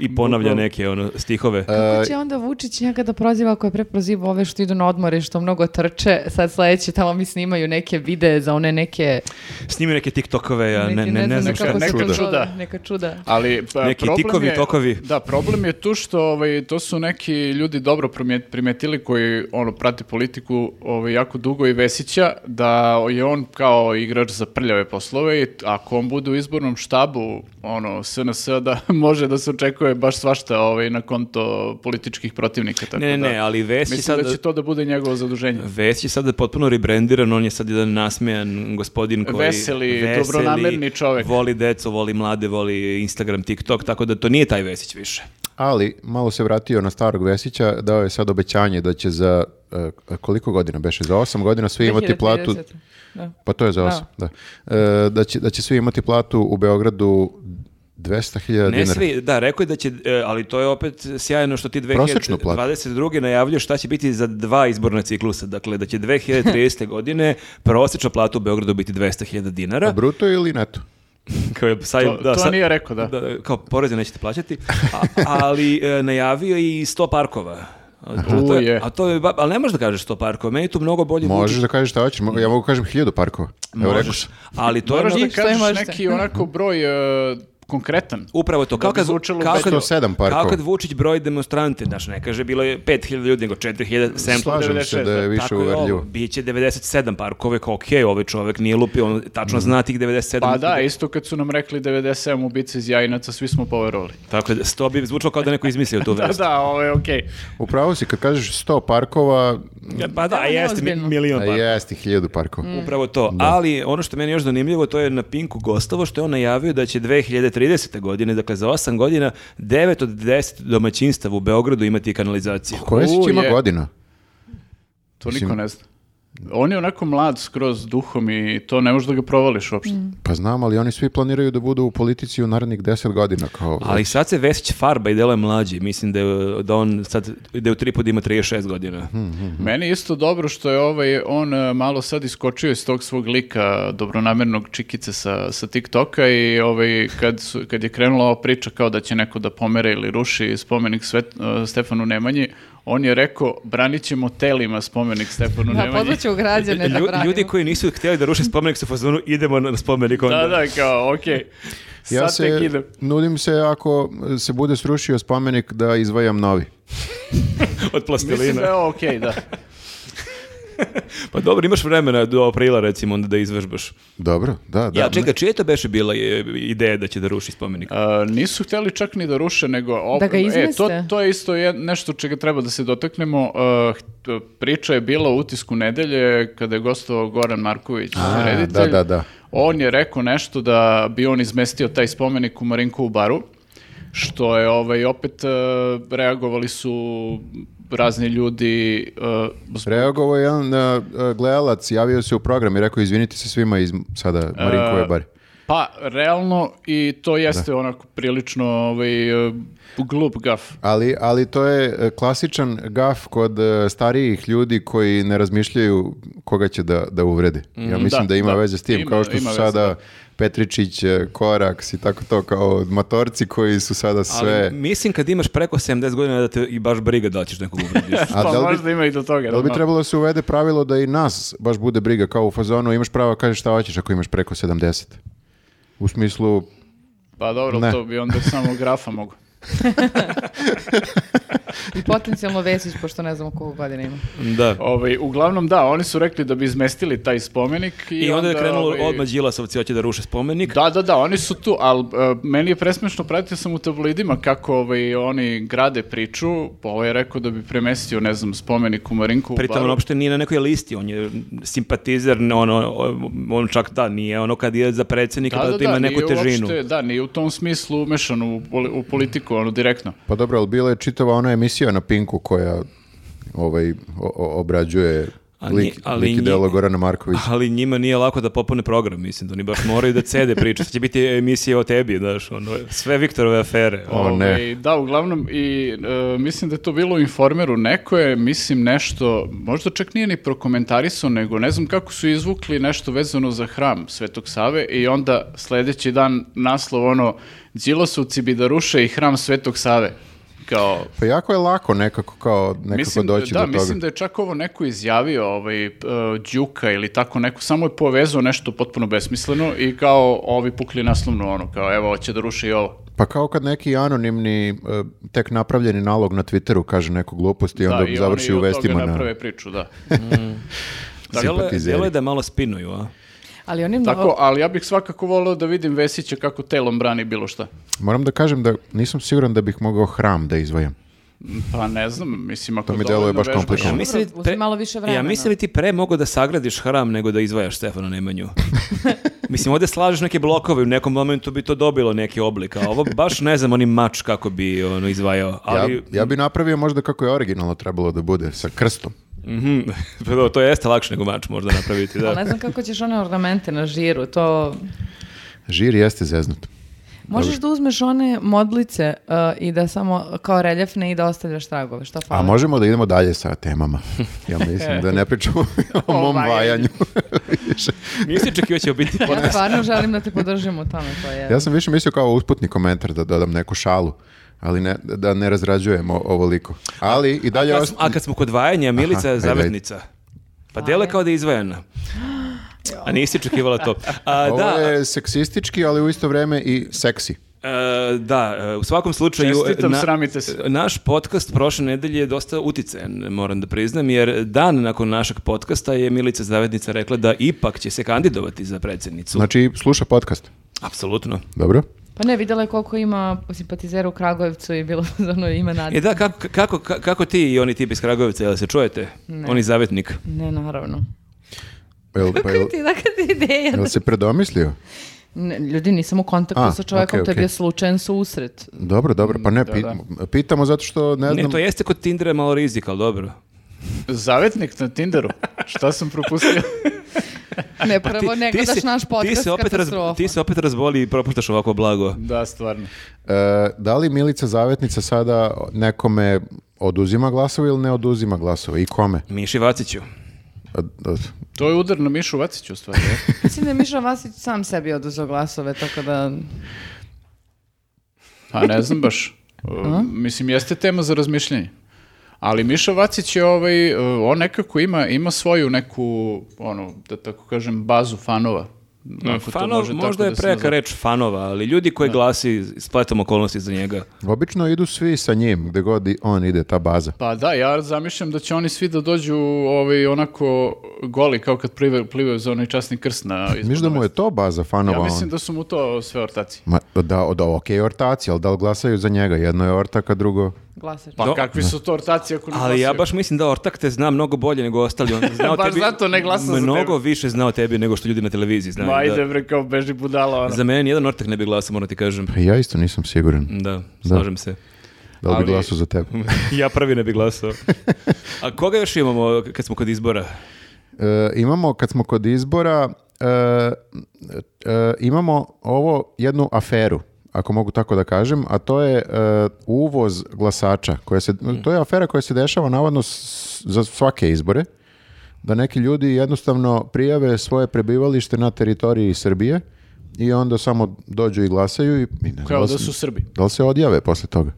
Speaker 1: i ponavlja neke, ono, stihove.
Speaker 4: E.
Speaker 3: Kako će onda Vučić njega da proziva ako je preproziva ove što idu na odmore i što mnogo trče? Sad sledeće tamo mi snimaju neke videe za one neke...
Speaker 1: Snimi neke TikTokove, ja ne,
Speaker 3: neke-
Speaker 1: ne, ne znam
Speaker 3: znam
Speaker 1: šta.
Speaker 3: kako se to
Speaker 4: Neka
Speaker 3: zove,
Speaker 4: čuda.
Speaker 3: Neka čuda.
Speaker 4: Ali pa,
Speaker 1: Neki
Speaker 4: problem
Speaker 1: tikovi,
Speaker 4: je,
Speaker 1: tokovi.
Speaker 4: Da, problem je tu što ovaj, to su neki ljudi dobro primjet- primetili koji ono prate politiku ovaj, jako dugo i Vesića, da je on kao igrač za prljave poslove i t- ako on bude u izbornom štabu ono, SNS, da <laughs> može da se očekuje baš svašta ovaj, na konto političkih protivnika. Tako
Speaker 1: Ne, ne, ne,
Speaker 4: da,
Speaker 1: ali Vesić
Speaker 4: Mislim
Speaker 1: sada...
Speaker 4: da će to da bude njegovo zaduženje.
Speaker 1: Vesić je sada potpuno rebrandiran, on je sad jedan nasmijan gospodin koji...
Speaker 4: Veseli, dobronamerni čovek.
Speaker 1: Voli decu, voli mlade, voli Instagram, TikTok, tako da to nije taj Vesić više.
Speaker 2: Ali, malo se vratio na starog Vesića, dao je sad obećanje da će za e, koliko godina beše? Za osam godina svi imati platu...
Speaker 3: 2030. Da.
Speaker 2: Pa to je za osam, da. E, da, će, da će svi imati platu u Beogradu 200.000 dinara.
Speaker 1: Ne svi, da, rekao je da će, e, ali to je opet sjajno što ti
Speaker 2: Prosečnu platu.
Speaker 1: 2022. najavljuje šta će biti za dva izborna ciklusa, dakle da će 2030. godine prosječna plata u Beogradu biti 200.000
Speaker 2: A
Speaker 1: dinara.
Speaker 2: Pa bruto ili neto?
Speaker 1: Kao je, sad,
Speaker 4: To- to nije rekao, da.
Speaker 1: Kao poreze nećete plaćati, a- ali e, najavio je i 100 parkova. A to je,
Speaker 4: Uje.
Speaker 1: a to je, ba- ali ne možeš da kažeš 100 parkova, meni tu mnogo bolje
Speaker 2: Možeš
Speaker 1: zvuči.
Speaker 2: da kažeš šta hoćeš, mo- ja mogu kažem hiljadu parkova. Evo rekao
Speaker 1: Možeš,
Speaker 2: sam.
Speaker 1: ali to je
Speaker 4: Moraš
Speaker 1: ono-
Speaker 4: da
Speaker 3: što
Speaker 4: kažeš
Speaker 3: imaš te.
Speaker 4: neki onako broj e, konkretan.
Speaker 1: Upravo to. Kao
Speaker 4: bi
Speaker 1: kad,
Speaker 4: zvučalo
Speaker 1: kao kad,
Speaker 2: 107 parkova.
Speaker 1: kao kad Vučić broji demonstrante, znaš, ne kaže bilo je 5000 ljudi, nego 4700.
Speaker 2: Slažem se
Speaker 4: 96,
Speaker 2: da je
Speaker 4: da.
Speaker 2: više
Speaker 1: Tako je ovo,
Speaker 2: uverljivo.
Speaker 1: Biće 97 parkove, kao okej, ovaj čovek nije lupio, on tačno zna tih 97.
Speaker 4: Pa da, isto kad su nam rekli 97 ubica iz Jajinaca, svi smo poverovali.
Speaker 1: Tako da 100 bi zvučalo kao da neko izmislio tu
Speaker 4: Da,
Speaker 1: vest.
Speaker 4: da, ovo je okej.
Speaker 2: Upravo si, kad kažeš 100 parkova,
Speaker 1: Ja, Pa da,
Speaker 3: Da,
Speaker 1: a jeste mi-
Speaker 3: neozbiljno.
Speaker 1: milion
Speaker 2: a
Speaker 1: parkova. Mm.
Speaker 2: jeste hiljadu parkova.
Speaker 1: Upravo to. Ali ono što je meni još zanimljivo, to je na Pinku Gostovo što je on najavio da će 2030. godine, dakle za 8 godina, 9 od 10 domaćinstava u Beogradu imati kanalizaciju.
Speaker 2: Koja si
Speaker 4: U,
Speaker 2: ima
Speaker 4: je.
Speaker 2: godina?
Speaker 4: To
Speaker 2: Mislim-
Speaker 4: niko ne zna. On je onako mlad skroz duhom i to ne možeš da ga provališ uopšte.
Speaker 2: Pa znam, ali oni svi planiraju da budu u politici u narednih 10 godina. Kao,
Speaker 1: Ali sad se Vesić farba i delo je mlađi. Mislim da, je, da on sad, da je u tripod ima 36 godina.
Speaker 4: Meni je isto dobro što je ovaj, on e, malo sad iskočio iz tog svog lika dobronamernog čikice sa, sa TikToka i ovaj, kad, su, kad je krenula ova priča kao da će neko da pomere ili ruši spomenik svet, e, Stefanu Nemanji, on je rekao, branit ćemo telima spomenik Stefanu
Speaker 3: Da,
Speaker 4: Nemanji.
Speaker 3: pozvaću građane da
Speaker 1: Lju-
Speaker 3: branimo.
Speaker 1: ljudi koji nisu htjeli da ruše spomenik su u fazonu idemo na spomenik onda.
Speaker 4: Da, da, kao, okej. Sad
Speaker 2: Ja
Speaker 4: tek
Speaker 2: se,
Speaker 4: idem.
Speaker 2: nudim se ako se bude srušio spomenik da izvajam novi.
Speaker 1: Od
Speaker 4: Mislim
Speaker 1: plastelina.
Speaker 4: da je ovo okej, da.
Speaker 1: Pa dobro, imaš vremena do aprila recimo onda da izvežbaš.
Speaker 2: Dobro, da, da.
Speaker 1: ja, čekaj, čija je to beše bila e, ideja da će da ruši spomenik?
Speaker 4: <laughs> A, nisu htjeli čak ni da ruše, nego... op-
Speaker 3: Da ga
Speaker 4: e, to,
Speaker 3: izmeste.
Speaker 4: to je isto jed- nešto čega treba da se dotaknemo. A, ht- priča je bila u utisku nedelje kada je gostovao Goran Marković, reditelj.
Speaker 2: da, da, da.
Speaker 4: On je rekao nešto da bi on izmestio taj spomenik u Marinkovu baru, što je ovaj, opet e, reagovali su razni ljudi e, zbog
Speaker 2: Reagovao je jedan e, e, gledalac, javio se u program i rekao izvinite se svima iz sada Marinkove
Speaker 1: Eh,
Speaker 4: E,
Speaker 2: bari.
Speaker 4: Pa, realno, i to jeste onako prilično ovaj, e, glup gaf.
Speaker 2: Ali, ali to je e, klasičan gaf kod e, starijih ljudi koji ne razmišljaju koga će da, da uvredi. Ja mislim da,
Speaker 4: Da,
Speaker 2: ima
Speaker 4: da.
Speaker 2: veze s tim,
Speaker 4: Ima-
Speaker 2: kao što su
Speaker 4: ima veze,
Speaker 2: sada
Speaker 4: da.
Speaker 2: Petričić, e, Koraks i tako to, kao matorci koji su sada
Speaker 1: Ali
Speaker 2: sve...
Speaker 1: mislim kad imaš preko 70 godina da te i baš briga da li ćeš nekog uvrediš. <laughs>
Speaker 2: A
Speaker 4: pa
Speaker 2: da li bi-
Speaker 4: možda ima i do toga.
Speaker 2: Da li bi
Speaker 4: da.
Speaker 2: trebalo da se uvede pravilo da i nas baš bude briga kao u fazonu imaš pravo kažeš šta hoćeš ako imaš preko 70? U smislu,
Speaker 4: Pa dobro,
Speaker 2: Ne.
Speaker 4: to bi onda samo grafa mogu.
Speaker 3: I potencijalno Vesić, pošto ne znamo koliko godina ima.
Speaker 1: da.
Speaker 4: Ovaj, uglavnom da, oni su rekli da bi izmestili taj spomenik. I,
Speaker 1: I onda je krenulo
Speaker 4: ovaj,
Speaker 1: odmah Đilasovci hoće da ruše spomenik.
Speaker 4: Da, da, da, oni su tu, ali e, meni je presmešno, pratio sam u tabloidima kako ovaj, oni grade priču, pa ovaj je rekao da bi premestio, ne znam, spomenik u Marinku. u
Speaker 1: Pritom on
Speaker 4: Baru.
Speaker 1: uopšte nije na nekoj listi, on je simpatizer, ne, ono, on čak da, nije ono kad je za predsjednika pa da, to ima neku
Speaker 4: nije
Speaker 1: težinu.
Speaker 4: Uopšte, da, nije u tom smislu umešan u, poli- u politiku, ono, direktno.
Speaker 2: pa dobro, ali bila je čitava ona emisija na Pinku koja ovaj, o- o- obrađuje
Speaker 1: A nje-
Speaker 2: lik,
Speaker 1: ali
Speaker 2: lik i
Speaker 1: nje-
Speaker 2: delo Gorana Markovića.
Speaker 1: Ali njima nije lako da popune program, mislim, da oni baš moraju da cede priče. Sad će biti emisije o tebi, znaš, ono, sve Viktorove afere.
Speaker 2: O, Pa ne.
Speaker 4: Ovaj, Da, uglavnom, i e, mislim da je to bilo u informeru. Neko je, mislim, nešto, možda čak nije ni prokomentarisao, nego ne znam kako su izvukli nešto vezano za hram Svetog Save i onda sljedeći dan naslov ono Đilosovci bi da ruše i hram Svetog Save. Kao,
Speaker 2: Pa jako je lako nekako kao nekako
Speaker 4: mislim,
Speaker 2: doći
Speaker 4: da,
Speaker 2: do toga.
Speaker 4: mislim da je čak ovo neko izjavio, ovaj, e, Đuka ili tako neko, samo je povezao nešto potpuno besmisleno i kao ovi pukli naslovno ono, kao evo, hoće da ruše i ovo.
Speaker 2: Pa kao kad neki anonimni, e, tek napravljeni nalog na Twitteru kaže neku glupost i onda
Speaker 4: da, i
Speaker 2: završi
Speaker 4: oni
Speaker 2: u
Speaker 4: od toga
Speaker 2: vestima na...
Speaker 4: naprave priču, da.
Speaker 1: Djelo je-
Speaker 2: simpatizeri.
Speaker 1: djelo je da malo spinuju, a?
Speaker 3: Ali oni mnogo...
Speaker 4: Tako, ali ja bih svakako volio da vidim Vesića kako telom brani bilo šta.
Speaker 2: Moram da kažem da nisam siguran da bih mogao hram da izvajam.
Speaker 4: Pa ne znam, mislim ako
Speaker 2: To mi
Speaker 4: dovoljno
Speaker 2: deluje baš
Speaker 4: vežbaš-
Speaker 1: Ja
Speaker 2: komplikovano. Dobro,
Speaker 1: mislim, da ti
Speaker 3: uzmi malo više vremena.
Speaker 1: Ja mislim da ti pre mogao da sagradiš hram nego da izvajaš Stefana
Speaker 3: <laughs>
Speaker 1: Nemanju. mislim, ovdje slažeš neke blokove, u nekom momentu bi to dobilo neki oblik, a ovo baš ne znam, oni mač kako bi ono, izvajao. Ali,
Speaker 2: Ja, ja bi napravio možda kako je originalno trebalo da bude, sa krstom.
Speaker 1: Mhm, <laughs> pa dobro, to jeste lakše nego mač možda napraviti,
Speaker 3: <laughs> Ali ne
Speaker 1: da.
Speaker 3: znam kako ćeš one ornamente na žiru, to...
Speaker 2: Žir jeste zeznut.
Speaker 3: Možeš da uzmeš one modlice uh, i da samo kao reljefne i da ostavljaš tragove, šta
Speaker 2: A
Speaker 4: Pa-
Speaker 3: fali?
Speaker 2: možemo da idemo dalje sa temama. <laughs> Ja mislim da ne pričamo
Speaker 4: <laughs>
Speaker 2: o
Speaker 4: O
Speaker 2: mom
Speaker 4: vajanju.
Speaker 2: vajanju. više.
Speaker 1: Nisi očekivao će biti
Speaker 3: <laughs> Ja
Speaker 1: podcast.
Speaker 3: stvarno želim da te podržim u tome, to je...
Speaker 2: Ja sam više mislio kao usputni komentar da dodam neku šalu, ali ne, da ne razrađujemo ovoliko. Ali i dalje...
Speaker 1: Kad
Speaker 2: ost-
Speaker 1: smo- a kad smo kod vajanja, Milica
Speaker 2: ajde,
Speaker 1: je
Speaker 2: ajde.
Speaker 1: zavetnica. Pa djelo je kao da je
Speaker 3: <gasps>
Speaker 1: izvajana. A nisi očekivala to. A,
Speaker 2: Ovo
Speaker 1: da,
Speaker 2: je seksistički, ali u isto vrijeme i seksi.
Speaker 1: E, da, e, u svakom slučaju... e,
Speaker 4: Čestitam, sramite se.
Speaker 1: Naš podcast prošle nedelje je dosta uticajan, moram da priznam, jer dan nakon našeg podcasta je Milica Zavednica rekla da ipak će se kandidovati za predsjednicu.
Speaker 2: Znači, sluša podcast.
Speaker 1: Apsolutno.
Speaker 2: Dobro?
Speaker 3: Pa ne, vidjela je koliko ima simpatizera u Kragujevcu i bilo <laughs> za ono ime
Speaker 1: E
Speaker 3: Nadica.
Speaker 1: da, kako, kako, ka- kako ti i oni tip iz Kragovica, jel se čujete? Oni zavetnik.
Speaker 3: Ne, naravno.
Speaker 2: Jel, pa jel,
Speaker 3: Kako ti, dakle ti ideja?
Speaker 2: jel se predomislio?
Speaker 3: Ne, ljudi, nisam u kontaktu
Speaker 2: A,
Speaker 3: sa čovjekom,
Speaker 2: okej,
Speaker 3: to je
Speaker 2: okej.
Speaker 3: bio slučajen <laughs> susret.
Speaker 2: Dobro, dobro, pa ne, pi- pitamo zato što
Speaker 1: Ne,
Speaker 2: ne znam...
Speaker 1: to jeste kod Tindera malo rizik, ali dobro.
Speaker 4: Zavetnik na Tinderu. Šta
Speaker 2: <laughs>
Speaker 4: sam propustio?
Speaker 3: Ne, prvo ne gledaš
Speaker 1: se-
Speaker 3: naš podcast,
Speaker 1: ti se opet raz-
Speaker 3: katastrofa.
Speaker 1: Ti se opet razboli i propuštaš ovako blago.
Speaker 4: da, stvarno.
Speaker 2: E, da li Milica Zavetnica sada nekome oduzima glasove ili ne oduzima glasove i kome?
Speaker 1: Miši Vaciću.
Speaker 2: E, e,
Speaker 4: To je udar na Mišu Vaciću, u stvari. je.
Speaker 3: Mislim da je Miša Vasić sam sebi oduzeo glasove, tako da...
Speaker 1: <laughs>
Speaker 4: Pa ne znam baš. Uh, mislim, jeste tema za razmišljanje. Ali Miša Vacić je ovaj, e, on nekako ima, ima svoju neku, ono, da tako kažem, bazu fanova. Ako Pa to
Speaker 1: Fanov,
Speaker 4: može tako
Speaker 1: možda je
Speaker 4: da se
Speaker 1: preka
Speaker 4: nazove.
Speaker 1: reč fanova, ali ljudi koji glasi spletom okolnosti za njega.
Speaker 2: Obično idu svi sa njim, gde god i on ide, ta baza.
Speaker 4: Pa da, ja zamišljam da će oni svi da dođu ovaj, onako goli, kao kad plive, plivaju za onaj časni krst na izbornoj
Speaker 2: Miš da mu je to baza fanova?
Speaker 4: Ja
Speaker 2: on?
Speaker 4: mislim da su mu to sve ortaci.
Speaker 2: Ma, da, da, ok, ortaci, ali da li glasaju za njega? Jedno je ortaka, drugo...
Speaker 3: Glasač.
Speaker 4: Pa
Speaker 1: Do-
Speaker 4: kakvi su to ortaci ako ne
Speaker 1: Ali ja
Speaker 4: glasaju?
Speaker 1: baš mislim da Ortak te zna mnogo bolje nego ostali. On je znao
Speaker 4: <laughs> Baš
Speaker 1: tebi,
Speaker 4: zato ne glasa za tebe.
Speaker 1: Mnogo više znao tebi nego što ljudi na televiziji znaju.
Speaker 4: Ma
Speaker 1: da.
Speaker 4: ide bre kao beži budala ono, ona.
Speaker 1: Za mene nijedan Ortak ne bi glasao, moram ti kažem.
Speaker 2: Pa ja isto nisam siguran.
Speaker 1: Da, slažem se. <laughs>
Speaker 2: Da li
Speaker 4: Ali-
Speaker 2: bi glasao za tebe?
Speaker 1: ja prvi ne bi
Speaker 4: <laughs>
Speaker 1: glasao. A koga još imamo kad smo kod izbora?
Speaker 2: E, imamo, kad smo kod izbora, e, e, imamo ovo jednu aferu, ako mogu tako da kažem, a to je e, uvoz glasača. Koja se,
Speaker 4: Mm.
Speaker 2: to je afera koja se dešava navodno s- za svake izbore, da neki ljudi jednostavno prijave svoje prebivalište na teritoriji Srbije i onda samo dođu i glasaju i, i ne znam
Speaker 4: Kao
Speaker 2: li
Speaker 4: da
Speaker 2: se-
Speaker 4: su Srbi.
Speaker 2: da li se odjave posle toga?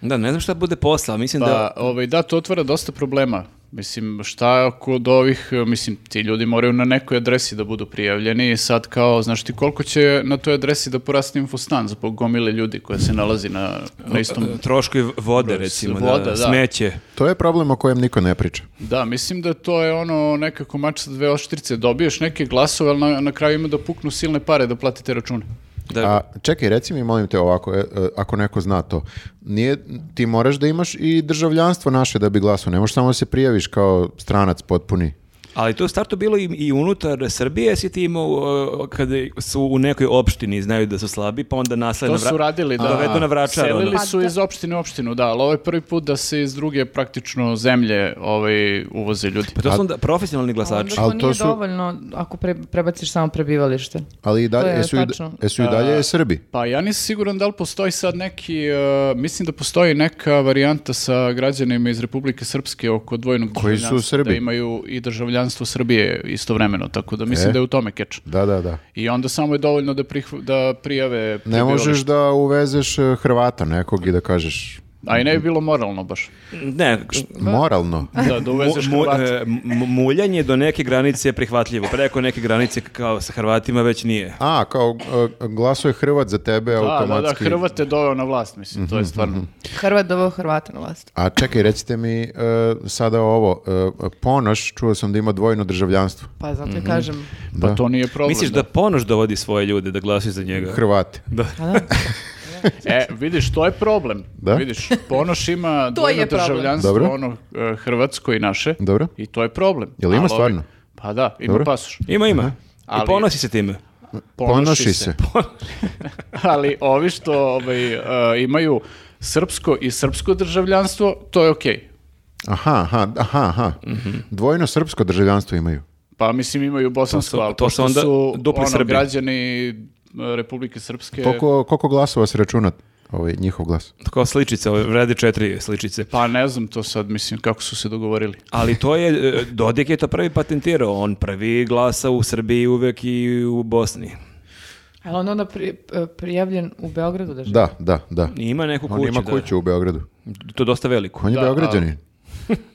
Speaker 1: Da, ne znam šta bude posla, ali mislim da...
Speaker 4: Pa, ovaj, da, to otvara dosta problema. Mislim, šta ako do ovih, eh, mislim, ti ljudi moraju na nekoj adresi da budu prijavljeni i sad kao, znaš ti koliko će na toj adresi da poraste infostan zbog gomile ljudi koja se nalazi na, na istom...
Speaker 1: E, Troškovi vode,
Speaker 4: Broj,
Speaker 1: recimo,
Speaker 4: voda,
Speaker 1: da,
Speaker 4: da.
Speaker 1: smeće.
Speaker 2: To je problem o kojem niko ne priča.
Speaker 4: Da, mislim da to je ono nekako mač sa dve oštrice. Dobiješ neke glasove, ali na, na kraju ima da puknu silne pare da platite račune.
Speaker 1: Da,
Speaker 2: A čekaj, reci mi molim te ovako, e, e, ako neko zna to, nije, ti moraš da imaš i državljanstvo naše da bi glasao, ne možeš samo da se prijaviš kao stranac potpuni.
Speaker 1: Ali to je u startu bilo i, i unutar Srbije, si ti imao uh, kada su u nekoj opštini i znaju da su slabi, pa onda nasled
Speaker 4: To
Speaker 1: na vra-
Speaker 4: su radili, da.
Speaker 1: dovedu na vračar, ono.
Speaker 4: Selili
Speaker 3: Pa
Speaker 4: su
Speaker 3: da.
Speaker 4: iz opštine u opštinu, da, ali ovo je prvi put da se iz druge praktično zemlje ovaj, uvoze ljudi.
Speaker 1: Pa to su onda profesionalni glasači.
Speaker 3: Onda to
Speaker 2: Ali to
Speaker 3: nije
Speaker 2: su-
Speaker 3: dovoljno ako pre, prebaciš samo prebivalište.
Speaker 2: Ali i dalje,
Speaker 3: je
Speaker 2: jesu, i,
Speaker 3: tačno.
Speaker 2: jesu i dalje Srbi.
Speaker 4: Pa ja nisam siguran da li postoji sad neki, e, mislim da postoji neka varijanta sa građanima iz Republike Srpske oko dvojnog
Speaker 2: Koji su
Speaker 4: državljanstva,
Speaker 2: Srbi?
Speaker 4: Da imaju i državljanstvo Srbije istovremeno, tako da mislim
Speaker 2: E.
Speaker 4: da je u tome keč.
Speaker 2: Da, da, da.
Speaker 4: I onda samo je dovoljno da, prihv- da prijave...
Speaker 2: Ne možeš da uvezeš e, Hrvata nekog i da kažeš
Speaker 4: A i ne bi bilo moralno baš.
Speaker 1: Ne, š-
Speaker 2: moralno.
Speaker 4: Da, da uvezeš
Speaker 1: mu- mu-
Speaker 4: Hrvata.
Speaker 1: e, mu- muljanje do neke granice je prihvatljivo. Preko neke granice kao sa Hrvatima već nije.
Speaker 2: A, kao e, glasuje Hrvat za tebe
Speaker 4: Da, da, da,
Speaker 2: automatski.
Speaker 4: Hrvat je doveo na vlast, mislim, to je stvarno.
Speaker 3: Hrvat doveo Hrvata na vlast.
Speaker 2: A čekaj, recite mi e, sada ovo, e, Ponoš, čuo sam da ima dvojno državljanstvo.
Speaker 3: Pa zato i kažem.
Speaker 4: Pa to nije problem.
Speaker 1: Misliš da Ponoš dovodi svoje ljude da glasuju za njega?
Speaker 2: Hrvati.
Speaker 3: Pa da.
Speaker 4: E, vidiš, to je problem.
Speaker 2: Da?
Speaker 4: Vidiš, Ponoš ima
Speaker 3: To
Speaker 4: dvojno
Speaker 3: je problem.
Speaker 4: državljanstvo,
Speaker 2: Dobro.
Speaker 4: ono e, hrvatsko i naše.
Speaker 2: Dobro.
Speaker 4: I to je problem.
Speaker 2: Jel ima
Speaker 4: Ali ovi-
Speaker 2: stvarno?
Speaker 4: Pa da, ima
Speaker 2: Dobro.
Speaker 4: pasoš.
Speaker 1: Ima, ima. I
Speaker 4: Ali-
Speaker 1: ponosi se time. <laughs>
Speaker 2: Ponoši se.
Speaker 4: <laughs> Ali ovi što ovaj, e, imaju srpsko i srpsko državljanstvo, to je okej.
Speaker 2: Aha, aha, aha, aha.
Speaker 4: Mhm.
Speaker 2: Dvojno srpsko državljanstvo imaju.
Speaker 4: Pa mislim imaju
Speaker 1: To
Speaker 4: bosansko,
Speaker 1: su-
Speaker 4: ali
Speaker 1: to su
Speaker 4: pošto
Speaker 1: onda
Speaker 4: su
Speaker 1: dupli
Speaker 4: ono,
Speaker 1: Srbi.
Speaker 4: građani e, Republike Srpske...
Speaker 2: Koliko, koliko glasova se računa ovaj, njihov glas?
Speaker 1: Kao sličice, ove vredi četiri sličice.
Speaker 4: Pa ne znam to sad, mislim, kako su se dogovorili.
Speaker 1: Ali to je, e, Dodik je to prvi patentirao, on prvi glasa u Srbiji uvek i u Bosni.
Speaker 3: Ali on onda pri, prijavljen u Beogradu da živi.
Speaker 2: Da, da, da.
Speaker 1: I ima neku kuću.
Speaker 2: On ima
Speaker 1: da.
Speaker 2: kuću u Beogradu.
Speaker 1: To je dosta veliko.
Speaker 2: On je
Speaker 4: Da,
Speaker 2: beograđanin.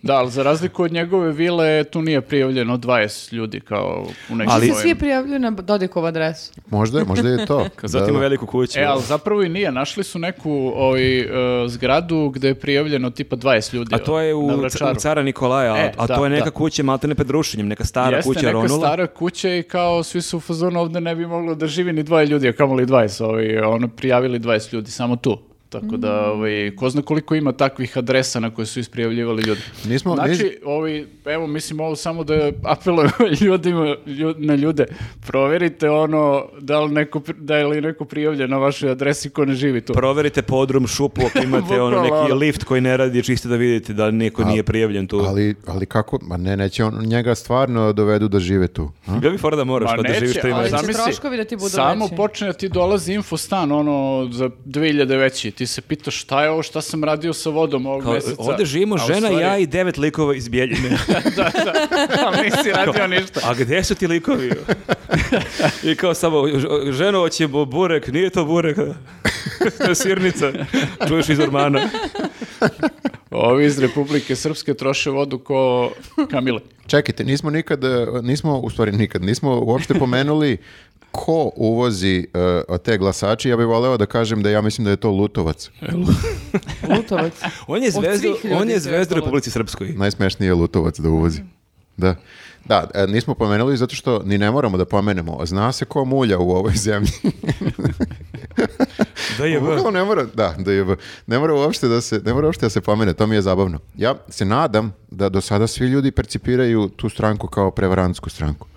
Speaker 4: Da, ali za razliku od njegove vile, tu nije prijavljeno 20 ljudi kao u
Speaker 1: Ali-
Speaker 4: nekim
Speaker 3: Ali...
Speaker 1: Ti
Speaker 3: Se
Speaker 1: se
Speaker 3: svi
Speaker 4: svojim.
Speaker 3: prijavljuju na Dodikovu adresu.
Speaker 2: Možda, je- možda
Speaker 4: <laughs>
Speaker 2: je to.
Speaker 1: Zato
Speaker 2: Da,
Speaker 1: ima
Speaker 2: da.
Speaker 1: veliku kuću.
Speaker 4: E, ali zapravo i nije. Našli su neku ovaj, e, zgradu gde je prijavljeno tipa 20 ljudi.
Speaker 1: A to je u,
Speaker 4: na
Speaker 1: c-
Speaker 4: Vračaru.
Speaker 1: u cara Nikolaja, a-
Speaker 4: E,
Speaker 1: a
Speaker 4: da,
Speaker 1: to je neka
Speaker 4: da.
Speaker 1: kuća maltene pred rušenjem, neka stara
Speaker 4: Jeste,
Speaker 1: kuća
Speaker 4: neka
Speaker 1: ronula.
Speaker 4: stara kuća i kao svi su u fazonu ovde ne bi moglo da živi ni dvoje ljudi, a kamoli 20. Ovaj, ono, prijavili 20 ljudi samo tu. Tako
Speaker 1: Mm.
Speaker 4: da, ovaj, ko zna koliko ima takvih adresa na koje su isprijavljivali ljudi.
Speaker 2: Nismo- nis-
Speaker 4: znači, ovaj, evo, mislim, ovo samo da apelujem <laughs> ljudima, lju- na ljude. Proverite ono, da li neko, pri- da je li neko prijavljen na vašoj adresi ko ne živi tu.
Speaker 1: Proverite podrum, šupu,
Speaker 4: <laughs>
Speaker 1: ako imate ono
Speaker 4: Bukvalno,
Speaker 1: neki
Speaker 4: ono.
Speaker 1: lift koji ne radi, čisto da vidite da niko nije prijavljen tu.
Speaker 2: Ali, ali kako? Ma ne, neće on, njega stvarno dovedu da žive tu. a?
Speaker 1: Bio bi fora da moraš
Speaker 4: Ma
Speaker 1: pa da
Speaker 4: neće,
Speaker 1: živiš tri
Speaker 4: ali
Speaker 1: meseca.
Speaker 3: će
Speaker 4: zamisli,
Speaker 3: Znači, troškovi da ti budu
Speaker 4: Samo
Speaker 3: veći.
Speaker 4: počne da ti dolazi infostan, ono, za 2000 veći. Ti se pitaš šta je ovo, šta sam radio sa vodom ovog
Speaker 1: Kao,
Speaker 4: meseca.
Speaker 1: Ovde živimo
Speaker 4: A u
Speaker 1: žena,
Speaker 4: stvari-
Speaker 1: ja i devet likova iz
Speaker 4: <laughs>
Speaker 1: Bjeljine.
Speaker 4: da, <laughs> da, a nisi
Speaker 1: <laughs>
Speaker 4: radio ništa.
Speaker 1: A gde su ti
Speaker 3: <laughs>
Speaker 1: likovi? I kao samo, "Ž- ženo, hoće bu- burek,
Speaker 3: <laughs>
Speaker 1: nije to burek. to je sirnica. Čuješ iz ormana.
Speaker 4: Ovi iz Republike Srpske troše vodu ko kamile.
Speaker 2: Čekajte, nismo nikad, e, nismo, u stvari nikad, nismo uopšte pomenuli ko uvozi e, od te glasače. Ja bih voleo da kažem da ja mislim da je to Lutovac. <laughs>
Speaker 3: Lutovac.
Speaker 1: On je
Speaker 3: Od
Speaker 1: zvezda,
Speaker 3: svih ljudi
Speaker 1: on je
Speaker 3: se
Speaker 1: zvezda u
Speaker 3: rekalo.
Speaker 1: Republici Srpskoj.
Speaker 2: Najsmešniji je Lutovac da uvozi. Da. Da, e, nismo pomenuli zato što ni ne moramo da pomenemo. Zna se ko mulja u ovoj
Speaker 4: <laughs>
Speaker 2: zemlji.
Speaker 1: Da je
Speaker 2: Bukvalno ne mora, da, da je, ne mora uopšte da se, ne mora uopšte da se pomene, to mi je zabavno. Ja se nadam da do sada svi ljudi percipiraju tu stranku kao prevarantsku stranku.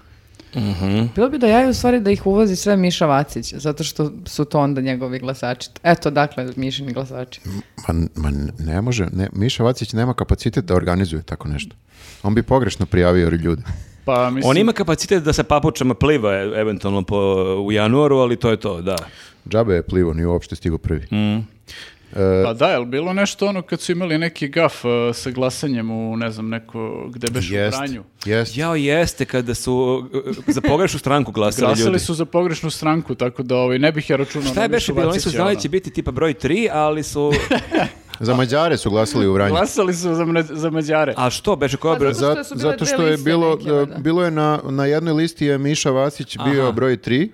Speaker 3: Bilo bi da ja u stvari da ih uvozi sve Miša Vacić, zato što su to onda njegovi glasači. Eto, dakle, Mišini glasači.
Speaker 2: Ma, ma ne može, ne, Miša Vacić nema kapacitet da organizuje tako nešto. On bi pogrešno prijavio ljude.
Speaker 4: Pa mislim,
Speaker 1: On ima kapacitet da se papučama pliva e, eventualno po, u januaru, ali to je to, da.
Speaker 2: Džabe je plivo, nije uopšte stigo prvi.
Speaker 4: Mm.
Speaker 2: E,
Speaker 4: pa da, jel bilo nešto ono kad su imali neki gaf e, sa glasanjem u, ne znam, neko, gde beš u
Speaker 2: Jest,
Speaker 4: Vranju.
Speaker 2: jest.
Speaker 1: Jao jeste kada su e, e, za pogrešnu stranku glasali ljudi.
Speaker 4: Glasali su za pogrešnu stranku, tako da ovaj, ne bih ja računao.
Speaker 1: Šta
Speaker 4: na
Speaker 1: je beše
Speaker 4: Mišu
Speaker 1: bilo? Oni su
Speaker 4: Vacića,
Speaker 1: znali da
Speaker 4: ono.
Speaker 1: će biti tipa broj 3, ali
Speaker 3: <laughs>
Speaker 1: su...
Speaker 2: Za Mađare su glasali u Vranju.
Speaker 4: Glasali su za, mne- za Mađare.
Speaker 1: A što beše? Koja
Speaker 3: Pa zato
Speaker 1: broj?
Speaker 3: što su bile
Speaker 2: zato
Speaker 3: dve
Speaker 2: što je
Speaker 3: liste
Speaker 2: bilo,
Speaker 3: neke, valjda.
Speaker 2: e, bilo je na, na jednoj listi je Miša Vasić bio broj 3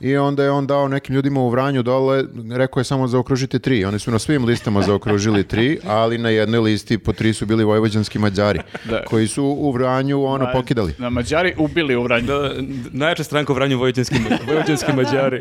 Speaker 2: i onda je on dao nekim ljudima u Vranju dole, rekao je samo zaokružite 3. Oni su na svim listama zaokružili 3, ali na jednoj listi po 3 su bili vojvođanski Mađari,
Speaker 4: Da.
Speaker 2: koji su u Vranju ono
Speaker 4: Ma-
Speaker 2: pokidali.
Speaker 4: Na Mađari ubili u Vranju.
Speaker 1: Da, d- najjača stranka u Vranju vojvođanski,
Speaker 3: <laughs>
Speaker 1: vojvođanski mađari.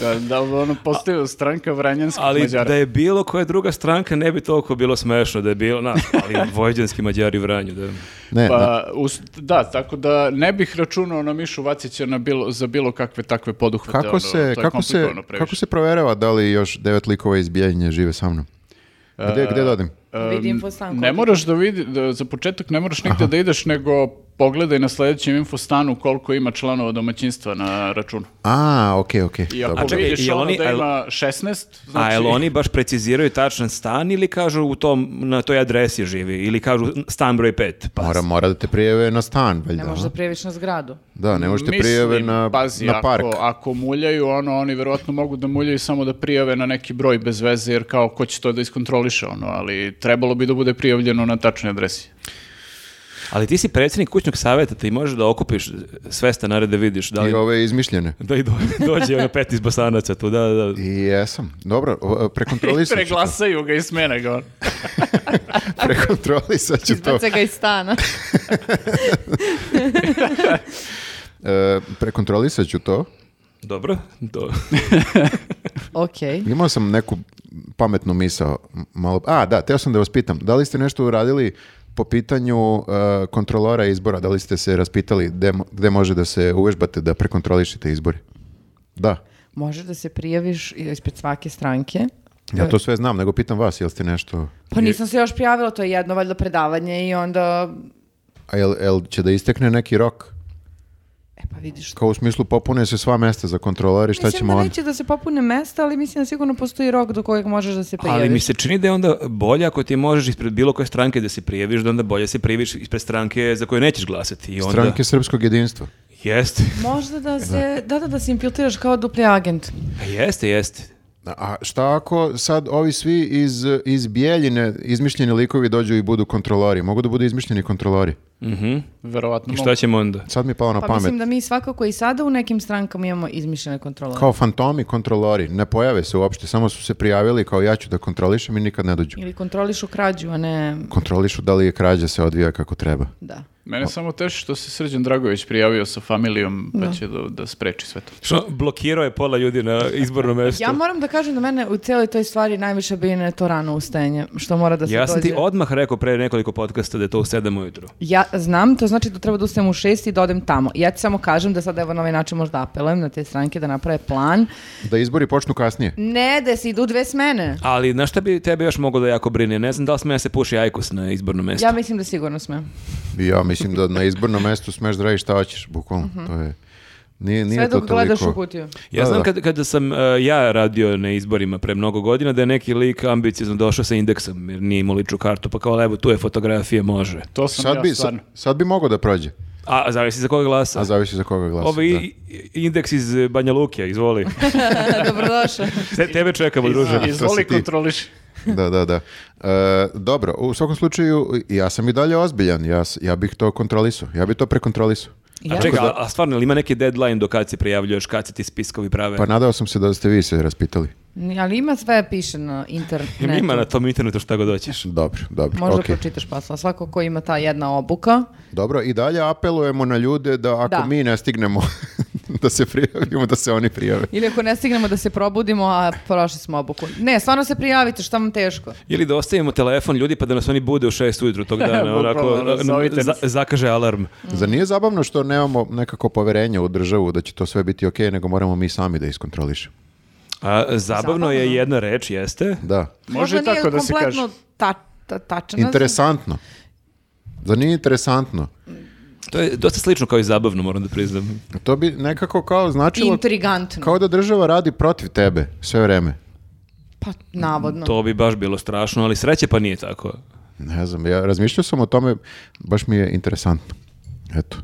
Speaker 4: Da, da ono postoji stranka Vranjanskih
Speaker 1: Ali
Speaker 4: Mađara.
Speaker 1: da je bilo koja druga stranka ne bi toliko bilo smešno da je bilo, na, ali vojvođanski mađari u Vranju, da.
Speaker 2: Ne, da.
Speaker 4: Pa, us- da, tako da ne bih računao na Mišu Vacića na bilo, za bilo kakve takve poduhvate. ono,
Speaker 2: Kako
Speaker 4: to je
Speaker 2: se, kako, se,
Speaker 4: komplikovano previše.
Speaker 2: kako se proverava da li još devet likova iz Bijeljine žive sa mnom? Gde,
Speaker 4: E,
Speaker 2: gde dodim?
Speaker 3: Vidim po stanku.
Speaker 4: Pa, Ne moraš da vidi, da, za početak ne moraš nigde da ideš, nego pogledaj na sljedećem infostanu koliko ima članova domaćinstva na računu.
Speaker 2: A, okej, okej.
Speaker 4: I
Speaker 2: dobro.
Speaker 4: ako
Speaker 1: A čekaj,
Speaker 4: vidiš
Speaker 1: jel
Speaker 4: ono
Speaker 1: oni-
Speaker 4: da
Speaker 1: jel-
Speaker 4: ima 16, znači...
Speaker 1: A jel oni baš preciziraju tačan stan ili kažu u tom, na toj adresi živi ili kažu stan broj 5? Pa,
Speaker 2: Mora, mora da te prijeve na stan, valjda.
Speaker 3: Ne možeš da
Speaker 2: a?
Speaker 3: prijeviš na
Speaker 2: <laughs>
Speaker 3: zgradu.
Speaker 2: Da, ne možete
Speaker 4: Mislim,
Speaker 2: prijave na,
Speaker 4: pazi,
Speaker 2: na park.
Speaker 4: Ako, ako muljaju, ono, oni verovatno mogu da muljaju samo da prijave na neki broj bez veze, jer kao ko će to da iskontroliše, ono, ali trebalo bi da bude prijavljeno na tačnoj
Speaker 1: <laughs>
Speaker 4: adresi.
Speaker 1: Ali ti si predsjednik kućnog savjeta, ti možeš da okupiš sve stanare da vidiš da li...
Speaker 2: I ove izmišljene.
Speaker 1: Da i do, dođe ono 15 bosanaca tu, da, da, da.
Speaker 2: I jesam. Dobro, o, prekontrolisat ću to.
Speaker 4: Preglasaju ga i smene ga, ono.
Speaker 2: <laughs> Prekontrolisat ću to.
Speaker 3: Izbace ga iz <laughs> stana.
Speaker 2: E, prekontrolisat ću to.
Speaker 1: Dobro, do...
Speaker 3: Okej.
Speaker 2: Imao sam neku pametnu misao. m- Malo... A, da, teo sam da vas pitam. Da li ste nešto uradili po pitanju e, kontrolora izbora? Da li ste se raspitali gde, mo- gde može da se uvežbate da prekontrolišite izbore? Da.
Speaker 3: Možeš da se prijaviš ispred svake stranke.
Speaker 2: Ja to sve znam, nego pitam vas, jel ste nešto...
Speaker 3: Pa nisam se još prijavila, to je jedno valjda predavanje i onda...
Speaker 2: A jel, jel će da istekne neki rok?
Speaker 3: E pa vidiš
Speaker 2: Kao u smislu popune se sva mesta za kontrolori, šta
Speaker 3: Mislim
Speaker 2: ćemo
Speaker 3: da
Speaker 2: onda?
Speaker 3: neće da se popune mesta, ali mislim da sigurno postoji rok do kojeg možeš da se prijaviš.
Speaker 1: Ali mi se čini da je onda bolje ako ti možeš ispred bilo koje stranke da se prijaviš, da onda bolje se prijaviš ispred stranke za koju nećeš glasati. I onda...
Speaker 2: Stranke srpskog jedinstva.
Speaker 1: Jeste,
Speaker 3: Možda
Speaker 2: E,
Speaker 3: da se, da, da, da se infiltriraš kao dupli agent.
Speaker 1: Pa jeste, jeste.
Speaker 2: A šta ako sad ovi svi iz, iz Bijeljine, izmišljeni likovi dođu i budu kontrolori? Mogu da budu izmišljeni kontrolori?
Speaker 4: Verovatno
Speaker 1: I
Speaker 4: mogu.
Speaker 1: šta ćemo onda?
Speaker 2: Sad mi je palo na
Speaker 3: Pa
Speaker 2: pamet.
Speaker 3: mislim da mi svakako i sada u nekim strankama imamo izmišljene kontrolore.
Speaker 2: Kao fantomi kontrolori, ne pojave se uopće, samo su se prijavili kao ja ću da kontrolišem i nikad ne dođu.
Speaker 3: Ili kontrolišu krađu, a ne...
Speaker 2: Kontrolišu da li je krađa se odvija kako treba.
Speaker 3: Da.
Speaker 4: Mene samo teši što se Srđan Dragović prijavio sa familijom da će da, da spreči sve to.
Speaker 1: Što, blokirao je pola ljudi na izbornom mestu.
Speaker 3: Ja moram da kažem da mene u cijeloj toj stvari najviše brine to rano ustajanje, što mora da se
Speaker 1: Ja sam ti
Speaker 3: dođe.
Speaker 1: odmah rekao pre nekoliko podcasta da je to u 7 ujutru.
Speaker 3: Ja znam, to znači da treba da ustajem u šest i da odem tamo. Ja ti samo kažem da sad evo na ovaj način možda apelujem na te stranke da naprave plan.
Speaker 2: Da izbori počnu kasnije.
Speaker 3: Ne, da se idu dve smene.
Speaker 1: Ali na šta bi tebe još moglo da jako brine? Ne znam da li sme ja se puši ajkus na izbornom mestu.
Speaker 3: Ja mislim da sigurno smem.
Speaker 2: Ja mislim da na izbornom mestu smeš da radiš šta hoćeš, bukvalno. To je... Nije, nije
Speaker 3: Mhm. Sve
Speaker 2: to
Speaker 3: dok
Speaker 2: toliko...
Speaker 3: gledaš u
Speaker 1: <laughs>
Speaker 3: kutiju.
Speaker 1: Ja
Speaker 2: Da,
Speaker 1: znam
Speaker 2: da.
Speaker 1: kad, kada sam e, ja radio na izborima pre mnogo godina da je neki lik ambiciozno došao sa indeksom jer nije imao ličnu kartu pa kao evo tu je fotografija može.
Speaker 4: To sam
Speaker 2: Sad
Speaker 4: ja
Speaker 2: bi, sad,
Speaker 4: stvarno.
Speaker 2: sad bi mogao da prođe,
Speaker 1: A zavisi za koga glasa.
Speaker 2: a zavisi za koga glasa.
Speaker 1: Ovo je
Speaker 2: da.
Speaker 1: i- i- indeks iz
Speaker 3: <laughs>
Speaker 1: e, Banja Luke, izvoli.
Speaker 3: Dobrodošao.
Speaker 1: Te, tebe čekamo, druže.
Speaker 2: to si
Speaker 4: Izvoli
Speaker 2: ti.
Speaker 4: kontroliš.
Speaker 2: Da, da, da. E, dobro, u svakom slučaju, ja sam i dalje ozbiljan. Ja, s- ja bih to kontrolisao. Ja bih to prekontrolisao.
Speaker 1: A
Speaker 3: Ja-
Speaker 1: čekaj, a, a stvarno, ili ima neki deadline do kad se prijavljuješ, kad se ti spiskovi prave?
Speaker 2: Pa nadao sam se da ste vi se raspitali.
Speaker 3: Ni- Ali ima sve piše na internetu.
Speaker 1: Ima na tom internetu šta god hoćeš.
Speaker 2: Dobro, dobro.
Speaker 3: Možda
Speaker 2: okej.
Speaker 3: pročitaš posla. Svako ko ima ta jedna obuka.
Speaker 2: Dobro, i dalje apelujemo na ljude da ako
Speaker 3: Da.
Speaker 2: mi ne stignemo <laughs> da se prijavimo, da se oni prijave.
Speaker 3: Ili ako ne stignemo da se probudimo, a prošli smo obuku. Ne, stvarno se prijavite, šta vam teško?
Speaker 1: Ili da ostavimo telefon ljudi pa da nas oni bude u šest ujutru
Speaker 4: <laughs>
Speaker 1: tog dana, onako
Speaker 4: Bukvalno, nazovite
Speaker 1: za-
Speaker 4: nas.
Speaker 1: zakaže alarm.
Speaker 2: Zar nije zabavno što nemamo nekako poverenje u državu da će to sve biti okej, nego moramo mi sami da iskontrolišemo?
Speaker 1: A, zabavno je
Speaker 3: Zabavno.
Speaker 1: jedna reč, jeste?
Speaker 2: Da.
Speaker 3: Pa
Speaker 4: Može i
Speaker 3: Možda
Speaker 4: tako
Speaker 3: nije
Speaker 4: da se kaže.
Speaker 3: kompletno ta, ta, tačan naziv.
Speaker 2: Interesantno. Zar nije interesantno?
Speaker 1: To je dosta slično kao i zabavno, moram da priznam.
Speaker 2: To bi nekako kao značilo
Speaker 3: Intrigantno.
Speaker 2: kao da država radi protiv tebe sve vreme.
Speaker 3: Pa, navodno.
Speaker 1: To bi baš bilo strašno, ali sreće pa nije tako.
Speaker 2: Ne znam, ja razmišljao sam o tome, baš mi je interesantno.
Speaker 3: <laughs>
Speaker 2: Eto.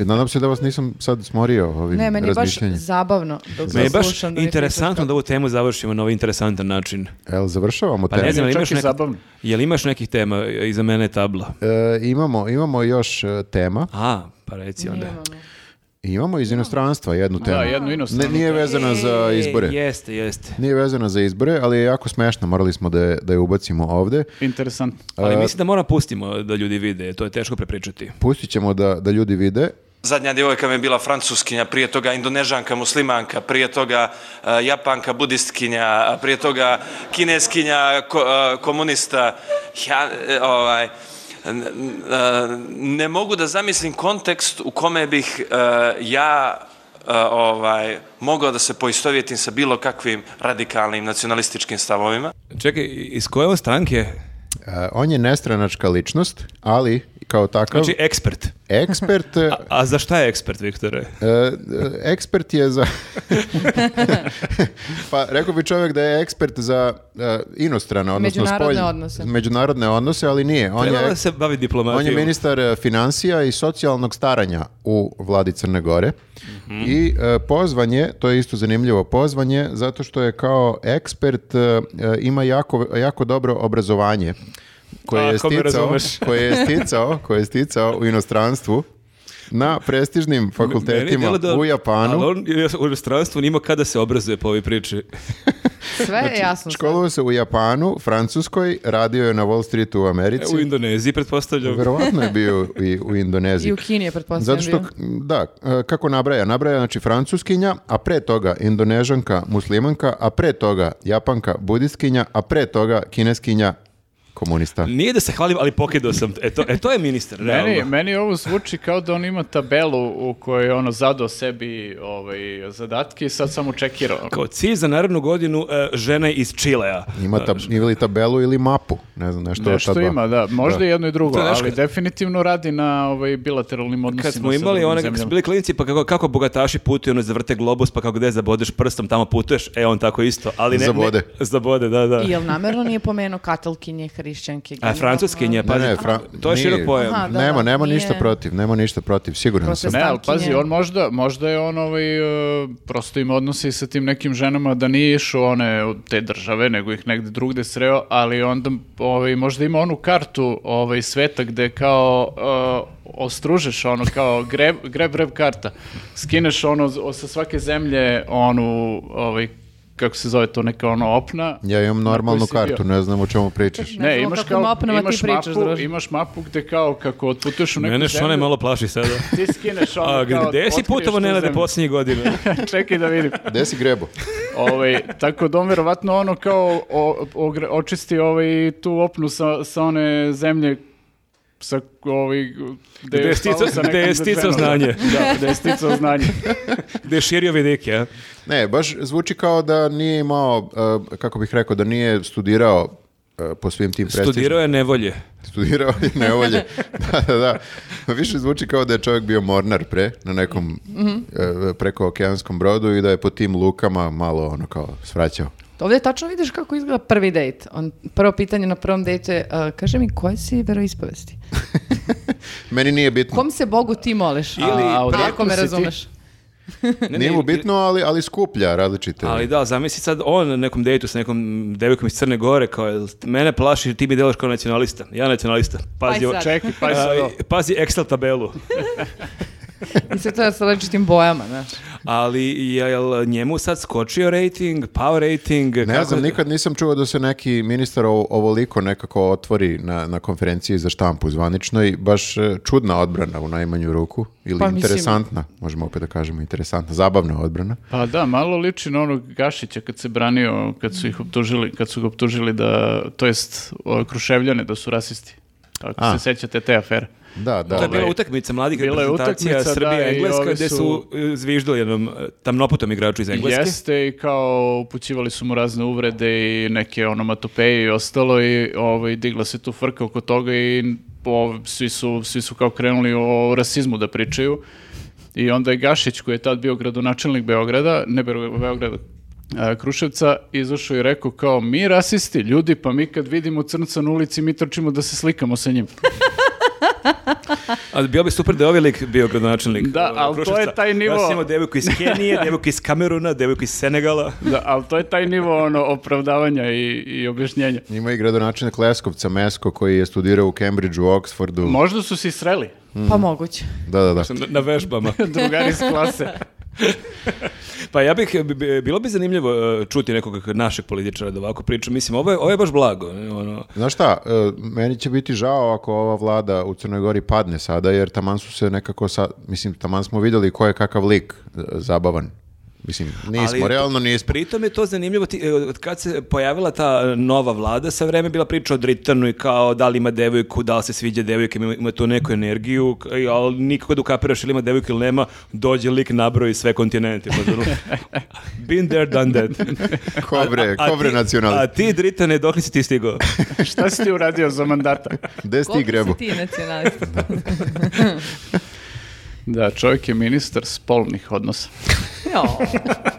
Speaker 2: I Nadam se da vas nisam sad smorio ovim
Speaker 3: Ne, meni je baš
Speaker 2: razmišljanjem.
Speaker 3: zabavno dok
Speaker 1: Me je
Speaker 3: vas
Speaker 1: baš
Speaker 3: slušam da mi
Speaker 1: interesantno
Speaker 3: pričate.
Speaker 1: da ovu temu završimo na ovaj interesantan način.
Speaker 2: Jel, završavamo
Speaker 1: Pa
Speaker 2: temu?
Speaker 1: ne znam, jel
Speaker 4: Čak
Speaker 1: imaš,
Speaker 4: i
Speaker 1: neka-
Speaker 4: zabavno.
Speaker 1: jel imaš nekih tema? Iza mene je tabla.
Speaker 2: E, imamo, imamo još e, tema.
Speaker 1: A, pa reci onda.
Speaker 2: Imamo iz inostranstva jednu temu.
Speaker 4: Da, jednu
Speaker 2: Ne,
Speaker 4: inostranu.
Speaker 2: nije vezana za
Speaker 1: E,
Speaker 2: izbore.
Speaker 1: Jeste, jeste.
Speaker 2: Nije vezana za izbore, ali je jako smešna, morali smo da je, da je ubacimo ovde.
Speaker 4: Interesantno.
Speaker 1: Ali mislim da mora pustimo da ljudi vide, to je teško prepričati.
Speaker 2: Pustit ćemo da, da ljudi vide.
Speaker 5: Zadnja djevojka mi je bila francuskinja, prije toga indonežanka, muslimanka, prije toga e, japanka, budistkinja, a prije toga kineskinja, ko- e, komunista. Ja, e, ovaj, n- n- e, ne mogu da zamislim kontekst u kome bih e, ja e, ovaj, mogao da se poistovjetim sa bilo kakvim radikalnim nacionalističkim stavovima.
Speaker 1: Čekaj, iz koje on stranke?
Speaker 2: E, on je nestranačka ličnost, ali kao takav
Speaker 1: Znači, ekspert. <laughs>
Speaker 2: ekspert, e,
Speaker 1: A za šta je ekspert, Viktore?
Speaker 2: E, e, ekspert je
Speaker 3: <laughs>
Speaker 2: za... pa rekao bi čovjek da je ekspert za e, inostrane, odnosno
Speaker 3: Međunarodne
Speaker 2: spoljne-
Speaker 3: odnose.
Speaker 2: Međunarodne odnose, ali nije. On
Speaker 1: Trebalo
Speaker 2: je,
Speaker 1: da se bavi diplomatijom.
Speaker 2: on je ministar e, financija i socijalnog staranja u vladi Crne Gore.
Speaker 1: Mhm.
Speaker 2: I e, pozvan je, to je isto zanimljivo pozvanje, zato što je kao ekspert e, e, ima jako, jako dobro obrazovanje koje je,
Speaker 1: Ako me
Speaker 2: sticao,
Speaker 1: razumeš.
Speaker 2: <laughs> koje je sticao, koje je sticao u inostranstvu na prestižnim
Speaker 1: Meni je
Speaker 2: fakultetima
Speaker 1: djelo da-
Speaker 2: u Japanu.
Speaker 1: Ali on je u inostranstvu nima kada se obrazuje po ovoj priči.
Speaker 3: Sve je jasno.
Speaker 2: Školovao se u Japanu, Francuskoj, radio je na Wall Streetu u Americi.
Speaker 1: U Indoneziji, pretpostavljam.
Speaker 2: Verovatno je bio i u Indoneziji.
Speaker 3: I u Kini je
Speaker 2: Zato
Speaker 3: pretpostavljam
Speaker 2: što,
Speaker 3: bio.
Speaker 2: da, e, kako nabraja? Nabraja, znači, francuskinja, a pre toga indonežanka, muslimanka, a pre toga japanka, budistkinja, a pre toga kineskinja, komunista.
Speaker 1: Nije da se hvalim, ali pokidao sam. E to, e, to je ministar,
Speaker 4: Meni,
Speaker 1: realno.
Speaker 4: meni ovo zvuči kao da on ima tabelu u kojoj je ono zadao sebi ovaj, zadatke i sad samo čekirao.
Speaker 1: Kao cilj za narednu godinu e, žene iz Čilea.
Speaker 2: Ima tab, ili tabelu ili mapu, ne znam, nešto, od ta
Speaker 4: Nešto
Speaker 2: dva.
Speaker 4: ima, da. Možda i jedno i drugo,
Speaker 1: To je, znaš,
Speaker 4: ali
Speaker 1: kad-
Speaker 4: definitivno radi na ovaj, bilateralnim odnosima.
Speaker 1: Kad smo
Speaker 4: sa
Speaker 1: imali
Speaker 4: drugim
Speaker 1: one, kad smo
Speaker 4: zemljama.
Speaker 1: bili klinici, pa kako, kako bogataši putuju, ono zavrte globus, pa kako gde zabodeš prstom, tamo putuješ, e on tako isto. Ali ne,
Speaker 2: Zabode.
Speaker 1: Ne, zabode, da, da.
Speaker 3: I jel namjerno nije pomenuo katalkinje, hrišćanke?
Speaker 1: A
Speaker 3: generalno?
Speaker 1: francuskinje,
Speaker 2: Ne,
Speaker 1: pa
Speaker 2: ne, Fra-
Speaker 1: to je
Speaker 2: nije.
Speaker 1: širok pojam.
Speaker 3: Aha. da,
Speaker 2: nema,
Speaker 3: da,
Speaker 2: nema
Speaker 3: nije.
Speaker 2: ništa protiv, nema ništa protiv, siguran sam.
Speaker 4: Pa Ne, ali
Speaker 3: Stankinje.
Speaker 4: pazi, on možda, možda je on ovaj, e, prosto ima odnosi sa tim nekim ženama da nije išao one u te države, nego ih negde drugde sreo, ali onda ovaj, možda ima onu kartu ovaj, sveta gde kao e, ostružeš ono kao greb, greb, greb karta. Skineš ono z- o- sa svake zemlje onu, ovaj, kako se zove to, neka ono opna.
Speaker 2: Ja imam
Speaker 4: na
Speaker 2: normalnu
Speaker 4: kojoj si bio.
Speaker 2: kartu, ne znam o čemu
Speaker 3: <laughs>
Speaker 2: pričaš.
Speaker 3: Ne
Speaker 4: Ne,
Speaker 3: znam
Speaker 4: imaš
Speaker 3: o kakvim
Speaker 4: kao,
Speaker 3: opnama ti
Speaker 4: imaš
Speaker 3: pričaš,
Speaker 4: mapu,
Speaker 3: Draže.
Speaker 4: imaš mapu gde kao kako otputuješ u neku
Speaker 1: Mene što
Speaker 4: zemlju,
Speaker 1: ne malo plaši sada.
Speaker 4: ti skineš ono
Speaker 1: A
Speaker 4: kao,
Speaker 1: gde si
Speaker 4: otkriješ
Speaker 1: putovo
Speaker 4: tu
Speaker 1: Nenade
Speaker 4: zemlju.
Speaker 1: posljednjih godina?
Speaker 4: <laughs> Čekaj da vidim.
Speaker 2: Gde si grebo?
Speaker 4: Ovaj, tako da on verovatno ono kao o, ogre- očisti ovaj, tu opnu sa, sa one zemlje sa ovaj,
Speaker 1: Gde
Speaker 4: gde,
Speaker 1: je
Speaker 4: palo
Speaker 1: sticao-
Speaker 4: sa
Speaker 1: gde je
Speaker 4: nekom
Speaker 1: sticao
Speaker 4: ženom.
Speaker 1: znanje.
Speaker 4: <laughs> Da, gde je sticao <laughs> znanje.
Speaker 1: Gde je širio vidike, a?
Speaker 2: Ne, baš zvuči kao da nije imao, e, kako bih rekao, da nije studirao e, po svim tim prestižnim.
Speaker 1: Studirao je nevolje.
Speaker 2: Studirao je nevolje.
Speaker 1: <laughs>
Speaker 2: da, da, da. Više zvuči kao da je čovjek bio mornar pre, na nekom
Speaker 1: Mhm.
Speaker 2: e, preko okeanskom brodu i da je po tim lukama malo ono kao svraćao.
Speaker 3: Ovdje tačno vidiš kako izgleda prvi dejt. On, prvo pitanje na prvom dejtu je, uh, kaže mi, koje si veroispovesti?
Speaker 2: Meni nije bitno.
Speaker 3: Kom se Bogu ti moliš?
Speaker 4: Ili-
Speaker 3: A,
Speaker 4: odakle
Speaker 3: ako me
Speaker 4: si ti?
Speaker 3: razumeš.
Speaker 1: Ne,
Speaker 2: Nije
Speaker 1: ne,
Speaker 2: mu bitno, ali, ali skuplja različite.
Speaker 1: Ali da, zamisli sad on na nekom dejtu sa nekom devojkom iz Crne Gore, kao jel mene plaši, ti mi delaš kao nacionalista. Ja nacionalista. Pazi,
Speaker 3: Aj
Speaker 1: o-
Speaker 3: sad.
Speaker 4: Čekaj, pa
Speaker 1: a,
Speaker 4: sad.
Speaker 1: pazi Excel
Speaker 4: <laughs>
Speaker 1: tabelu.
Speaker 3: I sve to sa različitim bojama, znaš.
Speaker 1: Ali jel njemu sad skočio rating, pao rating?
Speaker 2: Ne znam, nikad nisam čuo da se neki ministar ovo- ovoliko nekako otvori na, na konferenciji za štampu zvaničnoj. Baš e, čudna odbrana u najmanju ruku. Ili
Speaker 3: Pa mislim-
Speaker 2: interesantna, možemo opet da kažemo interesantna, zabavna odbrana.
Speaker 4: Pa da, malo liči na onog Gašića kad se branio, kad su ih optužili, kad su ga optužili da, to jest o, Kruševljane da su rasisti. Ako
Speaker 2: A.
Speaker 4: se sećate te afere.
Speaker 2: Da, da.
Speaker 1: To je bila
Speaker 4: Ovaj,
Speaker 1: utakmica mladih
Speaker 4: bila je
Speaker 1: reprezentacija
Speaker 4: utakmica,
Speaker 1: Srbija
Speaker 4: da, i
Speaker 1: Engleska
Speaker 4: ovi
Speaker 1: gde su
Speaker 4: su-
Speaker 1: e, zviždali jednom e, tamnoputom igraču iz Engleske.
Speaker 4: Jeste i kao upućivali su mu razne uvrede i neke onomatopeje i ostalo i ovaj, digla se tu frka oko toga i ov- svi, su, svi su kao krenuli o rasizmu da pričaju. I onda je Gašić koji je tad bio gradonačelnik Beograda, ne Be- Beograda, a, Kruševca, izašao i rekao kao mi rasisti ljudi, pa mi kad vidimo crnca na ulici mi trčimo da se slikamo sa njim.
Speaker 1: Ali bio bi super da je ovaj lik bio gradonačelnik.
Speaker 4: Da,
Speaker 1: e,
Speaker 4: ali to
Speaker 1: Kruševca.
Speaker 4: je taj nivo.
Speaker 1: Ja sam imao devojku iz
Speaker 4: <laughs>
Speaker 1: Kenije, devojku iz Kameruna, devojku iz Senegala.
Speaker 4: Da, ali to je taj nivo ono, opravdavanja i, i objašnjenja.
Speaker 2: Ima i gradonačelnik Leskovca, Mesko, koji je studirao u Cambridgeu, u Oxfordu.
Speaker 4: Možda su se i sreli, <laughs>
Speaker 3: Pa moguće.
Speaker 2: Da, da, da.
Speaker 1: Na, na vežbama.
Speaker 4: drugari iz klase.
Speaker 1: Pa ja bih, bi- bi- bilo bi zanimljivo e, čuti nekog našeg političara da ovako priča. Mislim, ovo je, ovo je baš blago. ne, Ono,
Speaker 2: Znaš šta, e, meni će biti žao ako ova vlada u Crnoj Gori padne sada, jer taman su se nekako, sa, mislim, taman smo vidjeli ko je kakav lik e, zabavan. Mislim, nismo,
Speaker 1: Ali-
Speaker 2: realno nismo.
Speaker 1: Pritom je to zanimljivo, ti, e, od kad se pojavila ta e, nova vlada, sa vreme je bila priča o Dritanu i kao da li ima devojku, da li se sviđa devojke, ima, ima tu neku energiju, k- i- ali nikako da ukapiraš ili ima devojku ili nema, dođe lik nabroji sve kontinente. Pa,
Speaker 4: <laughs>
Speaker 1: zonu, Been there, done that.
Speaker 2: Kobre,
Speaker 1: A
Speaker 2: kobre
Speaker 1: ti- A
Speaker 2: nacionalist.
Speaker 1: ti, Dritane, dok li si ti stigao?
Speaker 4: <laughs> Šta si ti uradio za mandata?
Speaker 2: Gde si ti
Speaker 3: Koliko
Speaker 2: grebo?
Speaker 3: si ti nacionalista?
Speaker 4: Da, čovjek je ministar spolnih odnosa.
Speaker 3: Jo. <laughs>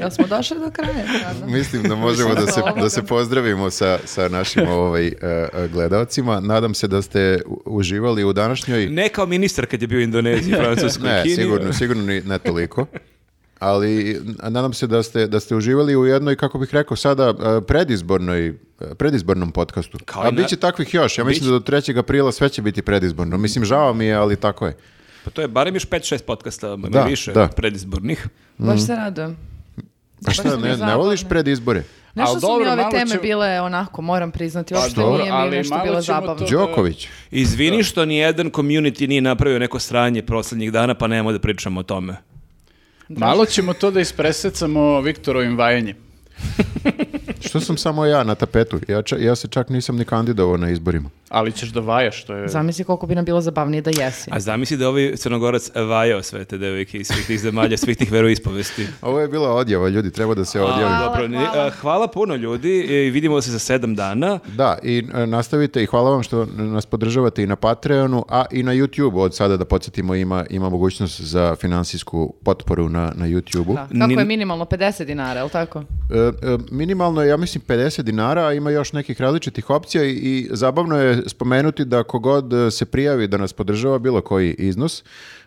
Speaker 3: Jel smo došli do kraja sada?
Speaker 2: Mislim da možemo da se, da se pozdravimo sa, sa našim ovaj, e, e, gledalcima. Nadam se da ste u- uživali u današnjoj...
Speaker 1: Ne kao ministar kad je bio u Indoneziji, Francuskoj,
Speaker 2: Ne,
Speaker 1: Kini.
Speaker 2: sigurno, sigurno ni- ne toliko. Ali n- nadam se da ste, da ste uživali u jednoj, kako bih rekao sada, e, predizbornoj e, predizbornom podcastu.
Speaker 1: Kao
Speaker 2: A
Speaker 1: i na-
Speaker 2: bit će takvih još. Ja mislim da do 3. aprila sve će biti predizborno. Mislim, žao mi je, ali tako je.
Speaker 1: Pa to je barem još 5-6 podcasta, da,
Speaker 2: Da,
Speaker 1: više,
Speaker 2: da.
Speaker 1: predizbornih.
Speaker 3: Baš se radujem.
Speaker 2: Pa šta,
Speaker 3: sam
Speaker 2: ne, ne
Speaker 3: zabavno.
Speaker 2: voliš predizbore?
Speaker 3: Nešto su
Speaker 4: Al dobro,
Speaker 3: mi ove
Speaker 4: malo
Speaker 3: teme
Speaker 4: će-
Speaker 3: bile onako, moram priznati, uopšte
Speaker 2: dobro,
Speaker 3: nije mi
Speaker 4: ali
Speaker 3: nešto
Speaker 4: malo
Speaker 3: bilo
Speaker 4: ćemo
Speaker 3: zabavno.
Speaker 4: to-
Speaker 2: Đoković.
Speaker 1: Izvini što nijedan community nije napravio neko sranje proslednjih dana, pa nemamo da pričamo o tome.
Speaker 4: Malo ćemo to da ispresecamo Viktorovim vajanjem.
Speaker 2: Što sam samo ja na tapetu? Ja, ča- ja se čak nisam ni kandidovao na izborima.
Speaker 4: Ali ćeš da vajaš, to je...
Speaker 3: Zamisli koliko bi nam bilo zabavnije da jesi.
Speaker 1: A zamisli da je ovaj crnogorac vajao sve te devojke iz svih tih zemalja, svih tih veroispovesti.
Speaker 2: Ovo je bila odjava, ljudi, treba da se odjavi.
Speaker 3: Hvala,
Speaker 1: Dobro, ni- a,
Speaker 3: hvala.
Speaker 1: hvala. puno ljudi i vidimo se za sedam dana.
Speaker 2: Da, i e, nastavite i hvala vam što nas podržavate i na Patreonu, a i na YouTubeu od sada da podsjetimo ima, ima mogućnost za finansijsku potporu na, na YouTubeu.
Speaker 3: Da. Kako
Speaker 1: Ni-
Speaker 3: je minimalno 50 dinara, je li tako?
Speaker 2: E, e, minimalno je, ja mislim, 50 dinara, a ima još nekih različitih opcija i, i zabavno je spomenuti da kogod e, se prijavi da nas podržava bilo koji iznos,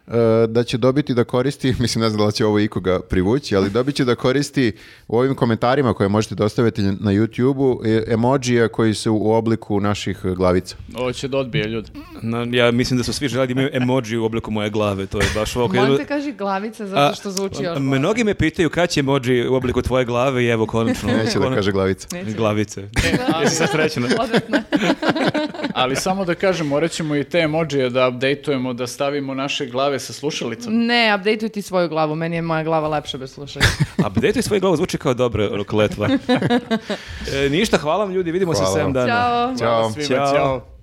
Speaker 2: e, da će dobiti da koristi, <laughs> mislim ne znam da li će ovo ikoga privući, ali dobit će da koristi u ovim komentarima koje možete dostaviti na YouTube-u e, emojije koji su u obliku naših glavica.
Speaker 4: Ovo će da odbije ljudi.
Speaker 1: Na- ja mislim da su svi želeli da imaju emoji u obliku moje glave, to je baš ovako.
Speaker 3: Molim te kaži glavica
Speaker 1: A,
Speaker 3: zato što zvuči još bolje.
Speaker 1: Mnogi me pitaju kada će emoji u obliku tvoje glave i evo konačno.
Speaker 2: <laughs> Neće da
Speaker 1: konačno-
Speaker 2: kaže glavica.
Speaker 3: <laughs>
Speaker 1: Glavice. Jesi se srećna?
Speaker 3: Odvratno.
Speaker 4: Ali samo da kažem, morat ćemo i te emojije da updateujemo, da stavimo naše glave sa slušalicom.
Speaker 3: Ne, updateuj ti svoju glavu, meni je moja glava lepša bez slušanja.
Speaker 1: A bedete svoje glavu zvuči kao dobra
Speaker 3: <laughs>
Speaker 1: rokletva. E, ništa, hvala vam ljudi, vidimo se
Speaker 2: Hvala
Speaker 1: sedam
Speaker 2: vam.
Speaker 1: dana.
Speaker 3: Ćao.
Speaker 2: Ćao.
Speaker 4: Svima,
Speaker 1: Ćao.
Speaker 4: ćao.